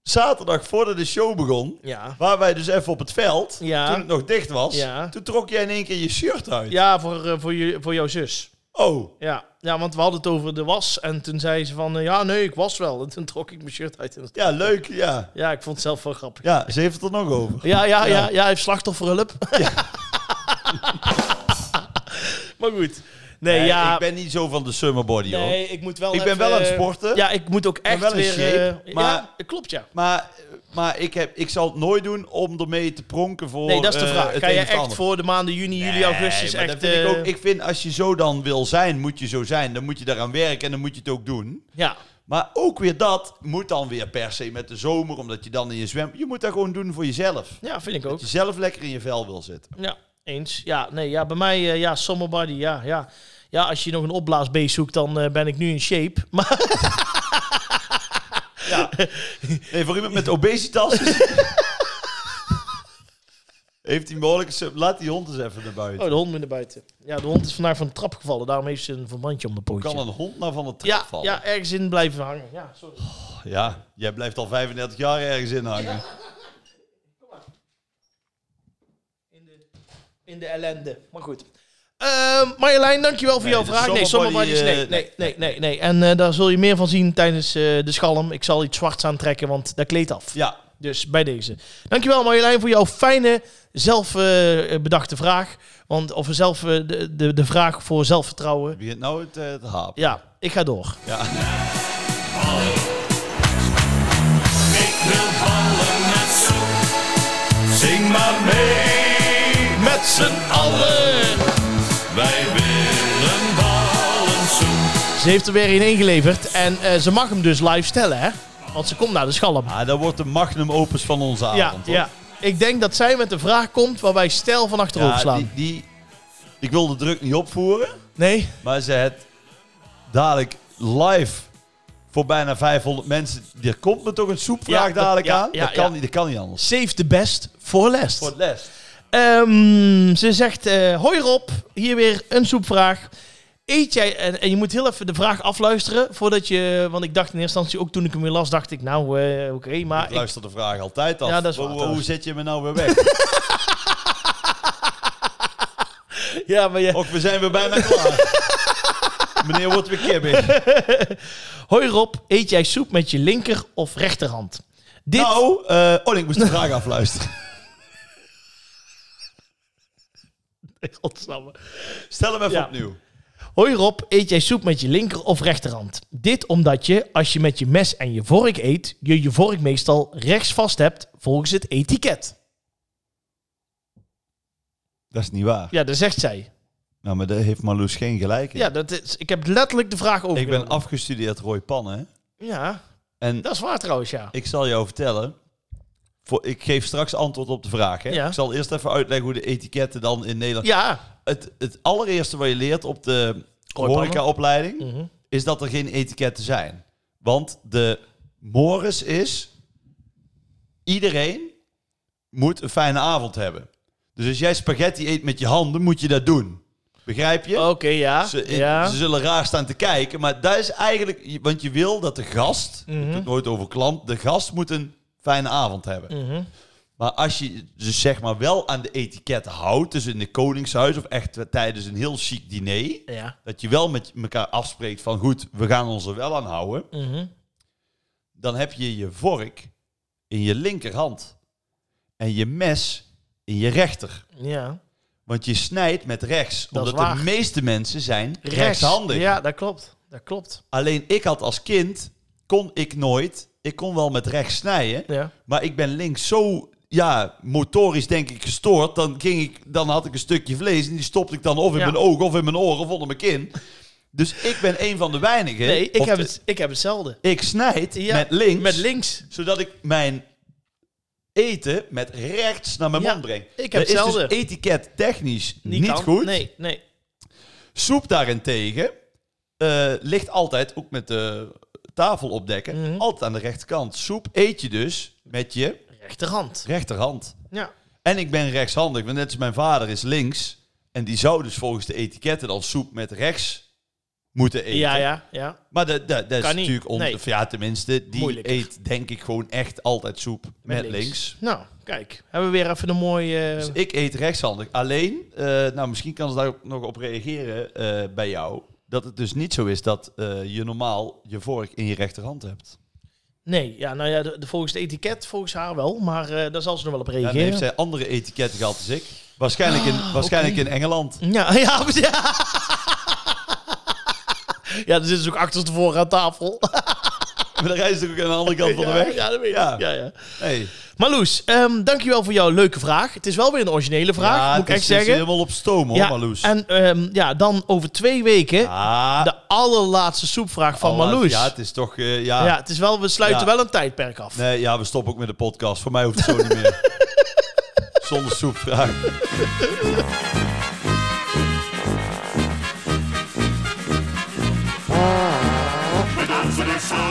zaterdag voordat de show begon. Ja. Waar wij dus even op het veld, Ja. toen het nog dicht was, Ja. toen trok jij in één keer je shirt uit. Ja, voor, eh, voor, je, voor jouw zus. Oh, Ja. ja, want we hadden het over de was. En toen zei ze van... eh, ja, nee, ik was wel. En toen trok ik mijn shirt uit. En dat- ja, leuk, ja. Ja, ik vond het zelf wel grappig. Ja, ze heeft het er nog over. Ja, ja, ja, Ja. ja, hij heeft slachtofferhulp. maar goed. Nee, Nee, ja. Ik ben niet zo van de summer body, hoor. nee, ik moet wel. Ik ben wel even- eh, aan het sporten. Ja, ik moet ook echt wel in weer. shape, eh, maar- ja, klopt ja. Maar, maar ik, heb, ik zal het nooit doen om ermee te pronken voor Nee, dat is de eh, vraag. het Ga een je of het echt ander. voor de maanden juni, juli, augustus Nee, maar echt? dat vind ik, ook, eh, ik vind als je zo dan wil zijn, moet je zo zijn. Dan moet je daaraan werken en dan moet je het ook doen. Ja. Maar ook weer dat moet dan weer per se met de zomer, omdat je dan in je zwem... Je moet dat gewoon doen voor jezelf. ja, vind ik ook. Dat je zelf lekker in je vel wil zitten. Ja, eens. Ja, nee, ja, bij mij, eh, ja, summer body, ja, ja. Ja, als je nog een opblaasbeest zoekt, dan eh, ben ik nu in shape. Maar Nee, voor iemand met obesitas... is- Heeft hij mogelijk... Laat die hond eens even naar buiten. oh, de hond moet naar buiten. Ja, de hond is vandaag van de trap gevallen. Daarom heeft ze een verbandje om de pootje. Kan een hond nou van de trap ja, vallen? ja, ergens in blijven hangen. Ja, sorry. Ja, jij blijft al 35 jaar ergens in hangen. In de, in de ellende. Maar goed. Ehm Marjolein, dankjewel voor Nee, jouw de vraag. Nee, Summerbody, Summerbodies, nee, eh, nee, nee, nee, nee. En eh, daar zul je meer van zien tijdens eh, de schalm. Ik zal iets zwarts aantrekken, want dat kleedt af. Ja, Dus bij deze. Dankjewel Marjolein voor jouw fijne, zelf eh, bedachte vraag. Want, of zelf, eh, de, de, de vraag voor zelfvertrouwen. begint nou het, eh, het haap. Ja, ik ga door. Ja. Ik wil vallen met zoen. Zing maar mee met z'n allen. Wij willen ballen zoen. Ze heeft er weer in ingeleverd. En eh, ze mag hem dus live stellen, hè? Want ze komt naar de schalm. Ah, dat wordt de magnum opus van onze Ja, avond. hoor. ja. Ik denk dat zij met een vraag komt waarbij stijl van achterover Ja, slaan. die, die, ik wil de druk niet opvoeren, Nee? maar ze het dadelijk live voor bijna 500 mensen. Er komt me toch een soepvraag Ja, dat- dadelijk ja, aan? ja, dat, kan ja. Niet, dat kan niet anders. Save the best for last. Voor het les. Ehm, ze zegt, eh, hoi Rob, hier weer een soepvraag. Eet jij, en, en je moet heel even de vraag afluisteren voordat je, want ik dacht in eerste instantie ook toen ik hem weer las, dacht ik nou eh, oké, maar Ik ik, luister de vraag altijd af. Ja, dat is Hoe- waar, hoe, hoe trouwens. zet je me nou weer weg? ja, maar je, Och, we zijn weer bijna klaar. Meneer wordt weer kibbig. hoi Rob, eet jij soep met je linker of rechterhand? Dit, Nou, eh, oh, nee, ik moest de vraag afluisteren. Godsamme. Stel hem even Ja. opnieuw. Hoi Rob, eet jij soep met je linker of rechterhand? Dit omdat je, als je met je mes en je vork eet, je je vork meestal rechts vast hebt volgens het etiket. Dat is niet waar. Ja, dat zegt zij. Nou, maar daar heeft Marloes geen gelijk in. Ja, dat is, ik heb letterlijk de vraag over. ik ben afgestudeerd Roy Pannen. Ja, En dat is waar trouwens, ja. ik zal jou vertellen. Voor, ik geef straks antwoord op de vraag. Hè? Ja. Ik zal eerst even uitleggen hoe de etiketten dan in Nederland... Ja. Het, het allereerste wat je leert op de Kooipannen. horecaopleiding... Mhm. is dat er geen etiketten zijn. Want de Morris is... iedereen moet een fijne avond hebben. Dus als jij spaghetti eet met je handen, moet je dat doen. Begrijp je? Oké, ja. eh, Ze, Ah, ja. ze zullen raar staan te kijken, maar dat is eigenlijk... Want je wil dat de gast, ik Mhm. heb het nooit over klant, de gast moet een fijne avond hebben. Mhm. Maar als je dus zeg maar wel aan de etiketten houdt, dus in de koningshuis of echt tijdens een heel chic diner, ja. dat je wel met elkaar afspreekt van goed, we gaan ons er wel aan houden, Mhm. dan heb je je vork in je linkerhand en je mes in je rechter. ja. Want je snijdt met rechts, Dat is omdat de waar. meeste mensen zijn Rechts. rechtshandig. Ja, dat klopt. Dat klopt. Alleen ik had als kind, kon ik nooit, ik kon wel met rechts snijden, Ja. maar ik ben links zo, ja, motorisch denk ik gestoord. Dan, ging ik, dan had ik een stukje vlees en die stopte ik dan of in Ja. mijn oog of in mijn oren of onder mijn kin. Dus ik ben een van de weinigen. Nee, ik Eh, Of heb, de- het, ik heb hetzelfde. Ik snijd Ja, met links, Met links. zodat ik mijn eten met rechts naar mijn Ja, mond breng. ik heb Dat is dus hetzelfde. etiket technisch niet, kan. goed. Nee, nee. Soep daarentegen eh, ligt altijd, ook met de tafel opdekken, Mhm. altijd aan de rechterkant. Soep eet je dus met je Rechterhand. rechterhand. Ja. En ik ben rechtshandig, want net als mijn vader is links. En die zou dus volgens de etiketten dan soep met rechts moeten eten. Ja, ja, ja. Maar dat, dat, dat is Kan niet. natuurlijk... On... Nee. of ja, tenminste, die Moeilijker. eet denk ik gewoon echt altijd soep met, links. Nou, kijk. Hebben we weer even een mooie... eh, Dus ik eet rechtshandig. Alleen, eh, nou misschien kan ze daar ook nog op reageren eh, bij jou... dat het dus niet zo is dat eh, je normaal je vork in je rechterhand hebt. Nee, ja, nou ja, de, de- volgens het etiket, volgens haar wel. Maar eh, daar zal ze nog wel op En dan reageren. Ah, heeft zij andere etiketten gehad als ik. Waarschijnlijk in, waarschijnlijk in Engeland. Ja, ja, ja. Ja, dan zitten ze ook achter tevoren aan tafel. Maar dan reis ik ook aan de andere kant van de ja, weg. Ja, dat weet ik. Ja. Ja. Ja, ja. Hey. Maar Loes, ehm, dankjewel voor jouw leuke vraag. Het is wel weer een originele vraag, Ja, moet ik het echt is- zeggen. Het is helemaal op stoom hoor, ja, Marloes. En ehm, ja, dan over twee weken ah, de allerlaatste soepvraag van Allah, Marloes. Ja, Ja, het is toch... eh, ja. het is wel, we sluiten Ja. wel een tijdperk af. Nee, ja, we stoppen ook met de podcast. Voor mij hoeft het zo niet meer. Zonder soepvraag.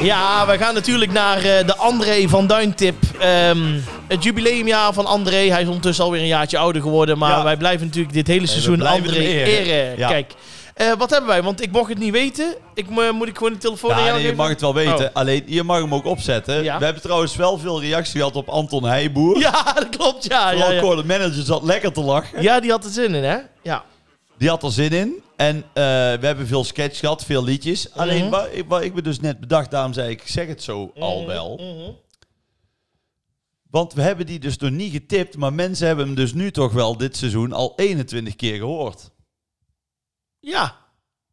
Ja, we gaan natuurlijk naar eh, de André van Duintip. Ehm, het jubileumjaar van André. Hij is ondertussen alweer een jaartje ouder geworden. Maar Ja. wij blijven natuurlijk dit hele seizoen blijven André hem eren. eren. Ja. Kijk, eh, wat hebben wij? Want ik mocht het niet weten. Ik, mo- moet ik gewoon de telefoon aan Ja, jou nee, je geven? mag het wel weten. Alleen, je mag hem ook opzetten. Oh. Ja. We hebben trouwens wel veel reacties gehad op Anton Heijboer. Ja, dat klopt. Ja, ja, Vooral ja. Cor, de manager zat lekker te lachen. ja, die had er zin in, hè? Ja. Die had er zin in. En eh, we hebben veel sketch gehad, veel liedjes. Alleen, Mhm. wat, ik- wat ik me dus net bedacht, daarom zei ik, ik zeg het zo al wel. Mhm. Want we hebben die dus nog niet getipt, maar mensen hebben hem dus nu toch wel dit seizoen al 21 keer gehoord. Ja,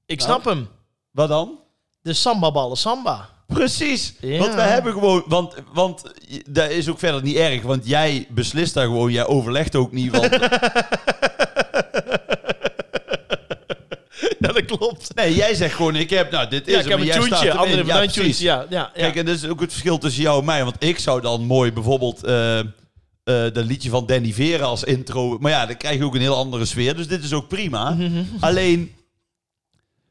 ik Nou. snap hem. Wat dan? De samba-ballen, samba. Precies. Ja. Want we hebben gewoon, want, want je- dat is ook verder niet erg, want jij beslist daar gewoon, jij overlegt ook niet. Want, Ja, dat klopt. nee, jij zegt gewoon, ik heb, nou, dit is Ja, ik hem, heb en een jij staat tuintje. erin. André van ja, Duintje. precies. Ja, ja, ja. Kijk, en dat is ook het verschil tussen jou en mij, want ik zou dan mooi bijvoorbeeld eh eh dat liedje van Danny Vera als intro, maar ja, dan krijg je ook een heel andere sfeer, dus dit is ook prima. Alleen,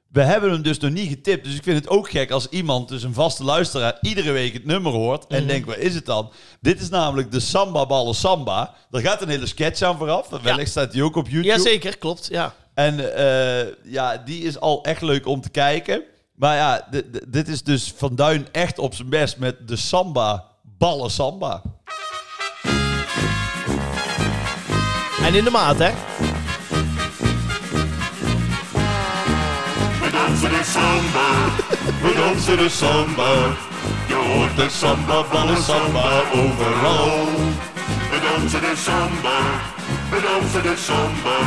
we hebben hem dus nog niet getipt. Dus ik vind het ook gek als iemand, dus een vaste luisteraar, iedere week het nummer hoort. En denkt, wat is het dan? Dit is namelijk de Samba Ballen Samba. Daar gaat een hele sketch aan vooraf. Wellicht staat die ook op YouTube. Jazeker, klopt. Ja. En eh, ja, die is al echt leuk om te kijken. Maar ja, d- d- dit is dus Van Duin echt op zijn best met de Samba Ballen Samba. En in de maat, hè? We dansen de samba, we dansen de samba. Je hoort de samba, ballen samba overal. We dansen de samba, we dansen de samba.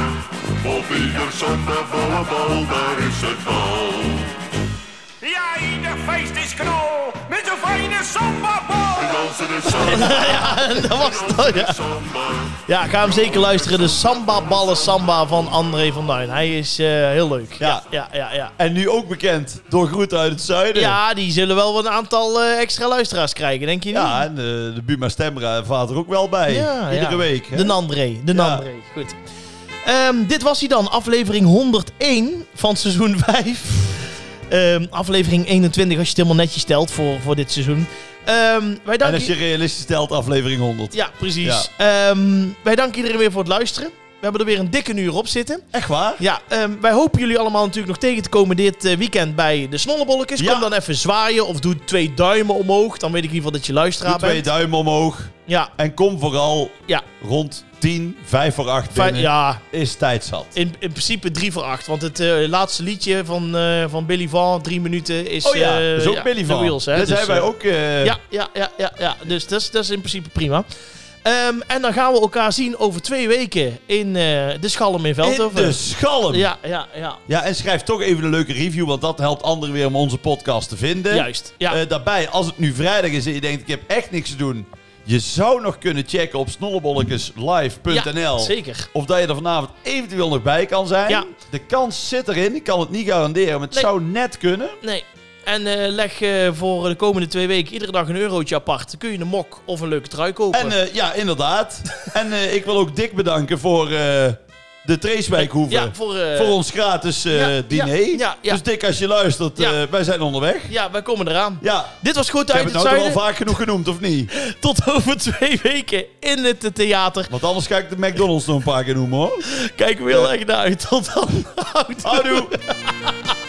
Op ieder samba, ballen, bal, daar is het bal. Ja, ieder feest is knal met zo'n fijne sambabal. We dansen de samba. dat was het. Ja. samba. ja, ga hem zeker luisteren. De Samba Ballen Samba van André van Duin. Hij is eh, heel leuk. Ja. ja, ja, ja. En nu ook bekend door Groeten uit het Zuiden. Ja, die zullen wel een aantal eh, extra luisteraars krijgen, denk je niet? Ja, en eh, de Buma Stemra vaart er ook wel bij. Ja, Iedere ja. week. hè? De Nandré, de Ja. Nandré. Goed. Ehm, dit was hij dan, aflevering 101 van seizoen 5. Ehm, aflevering 21, als je het helemaal netjes stelt voor, voor dit seizoen. Ehm, wij en danken... als je realistisch stelt, aflevering 100. Ja, precies. Ehm, wij danken iedereen weer voor het luisteren. We hebben er weer een dikke uur op zitten. Echt waar? Ja, ehm, wij hopen jullie allemaal natuurlijk nog tegen te komen dit eh, weekend bij de Snollebolletjes. Ja. Kom dan even zwaaien of doe twee duimen omhoog. Dan weet ik in ieder geval dat je luisteraar Doe twee bent. duimen omhoog. Ja, En kom vooral ja. rond 10, 5 voor 8 Fijn- binnen. ja, Is tijd zat. In, in principe 3 voor 8. Want het eh, laatste liedje van, eh, van Billy Van, 3 minuten, is. Oh ja, eh, dat is ook Billy The van. Wheels, hè? Dat Dus, zijn wij eh, ook... eh, Ja, ja, ja, ja, ja. Dus dat is- dat is in principe prima. Ehm, en dan gaan we elkaar zien over twee weken in eh, de Schalm in in Veldhoven. de schalm. Ja, ja, ja. Ja, en schrijf toch even een leuke review, want dat helpt anderen weer om onze podcast te vinden. Juist, ja. Eh, daarbij, als het nu vrijdag is en je denkt, ik heb echt niks te doen. Je zou nog kunnen checken op Ja, snollebolletjeslive.nl. zeker. of dat je er vanavond eventueel nog bij kan zijn. Ja. De kans zit erin. Ik kan het niet garanderen, maar het Nee. zou net kunnen. Nee. En eh, leg eh, voor de komende twee weken iedere dag een eurotje apart. Dan kun je een mok of een leuke trui kopen. En eh, ja, inderdaad. en eh, ik wil ook Dick bedanken voor eh, de Tracewijkhoeve. ja, voor, eh, voor ons gratis eh, ja, diner. ja, ja, ja. Dus Dick, als je luistert, Ja. eh, wij zijn onderweg. ja, wij komen eraan. Ja, Dit was goed ik uit heb het het nou toch zuiden. al vaak genoeg genoemd, of niet? Tot over twee weken in het theater. Want anders ga ik de McDonald's nog een paar keer noemen, hoor. Kijk er heel erg naar uit. Tot dan. Houdoe. Houdoe!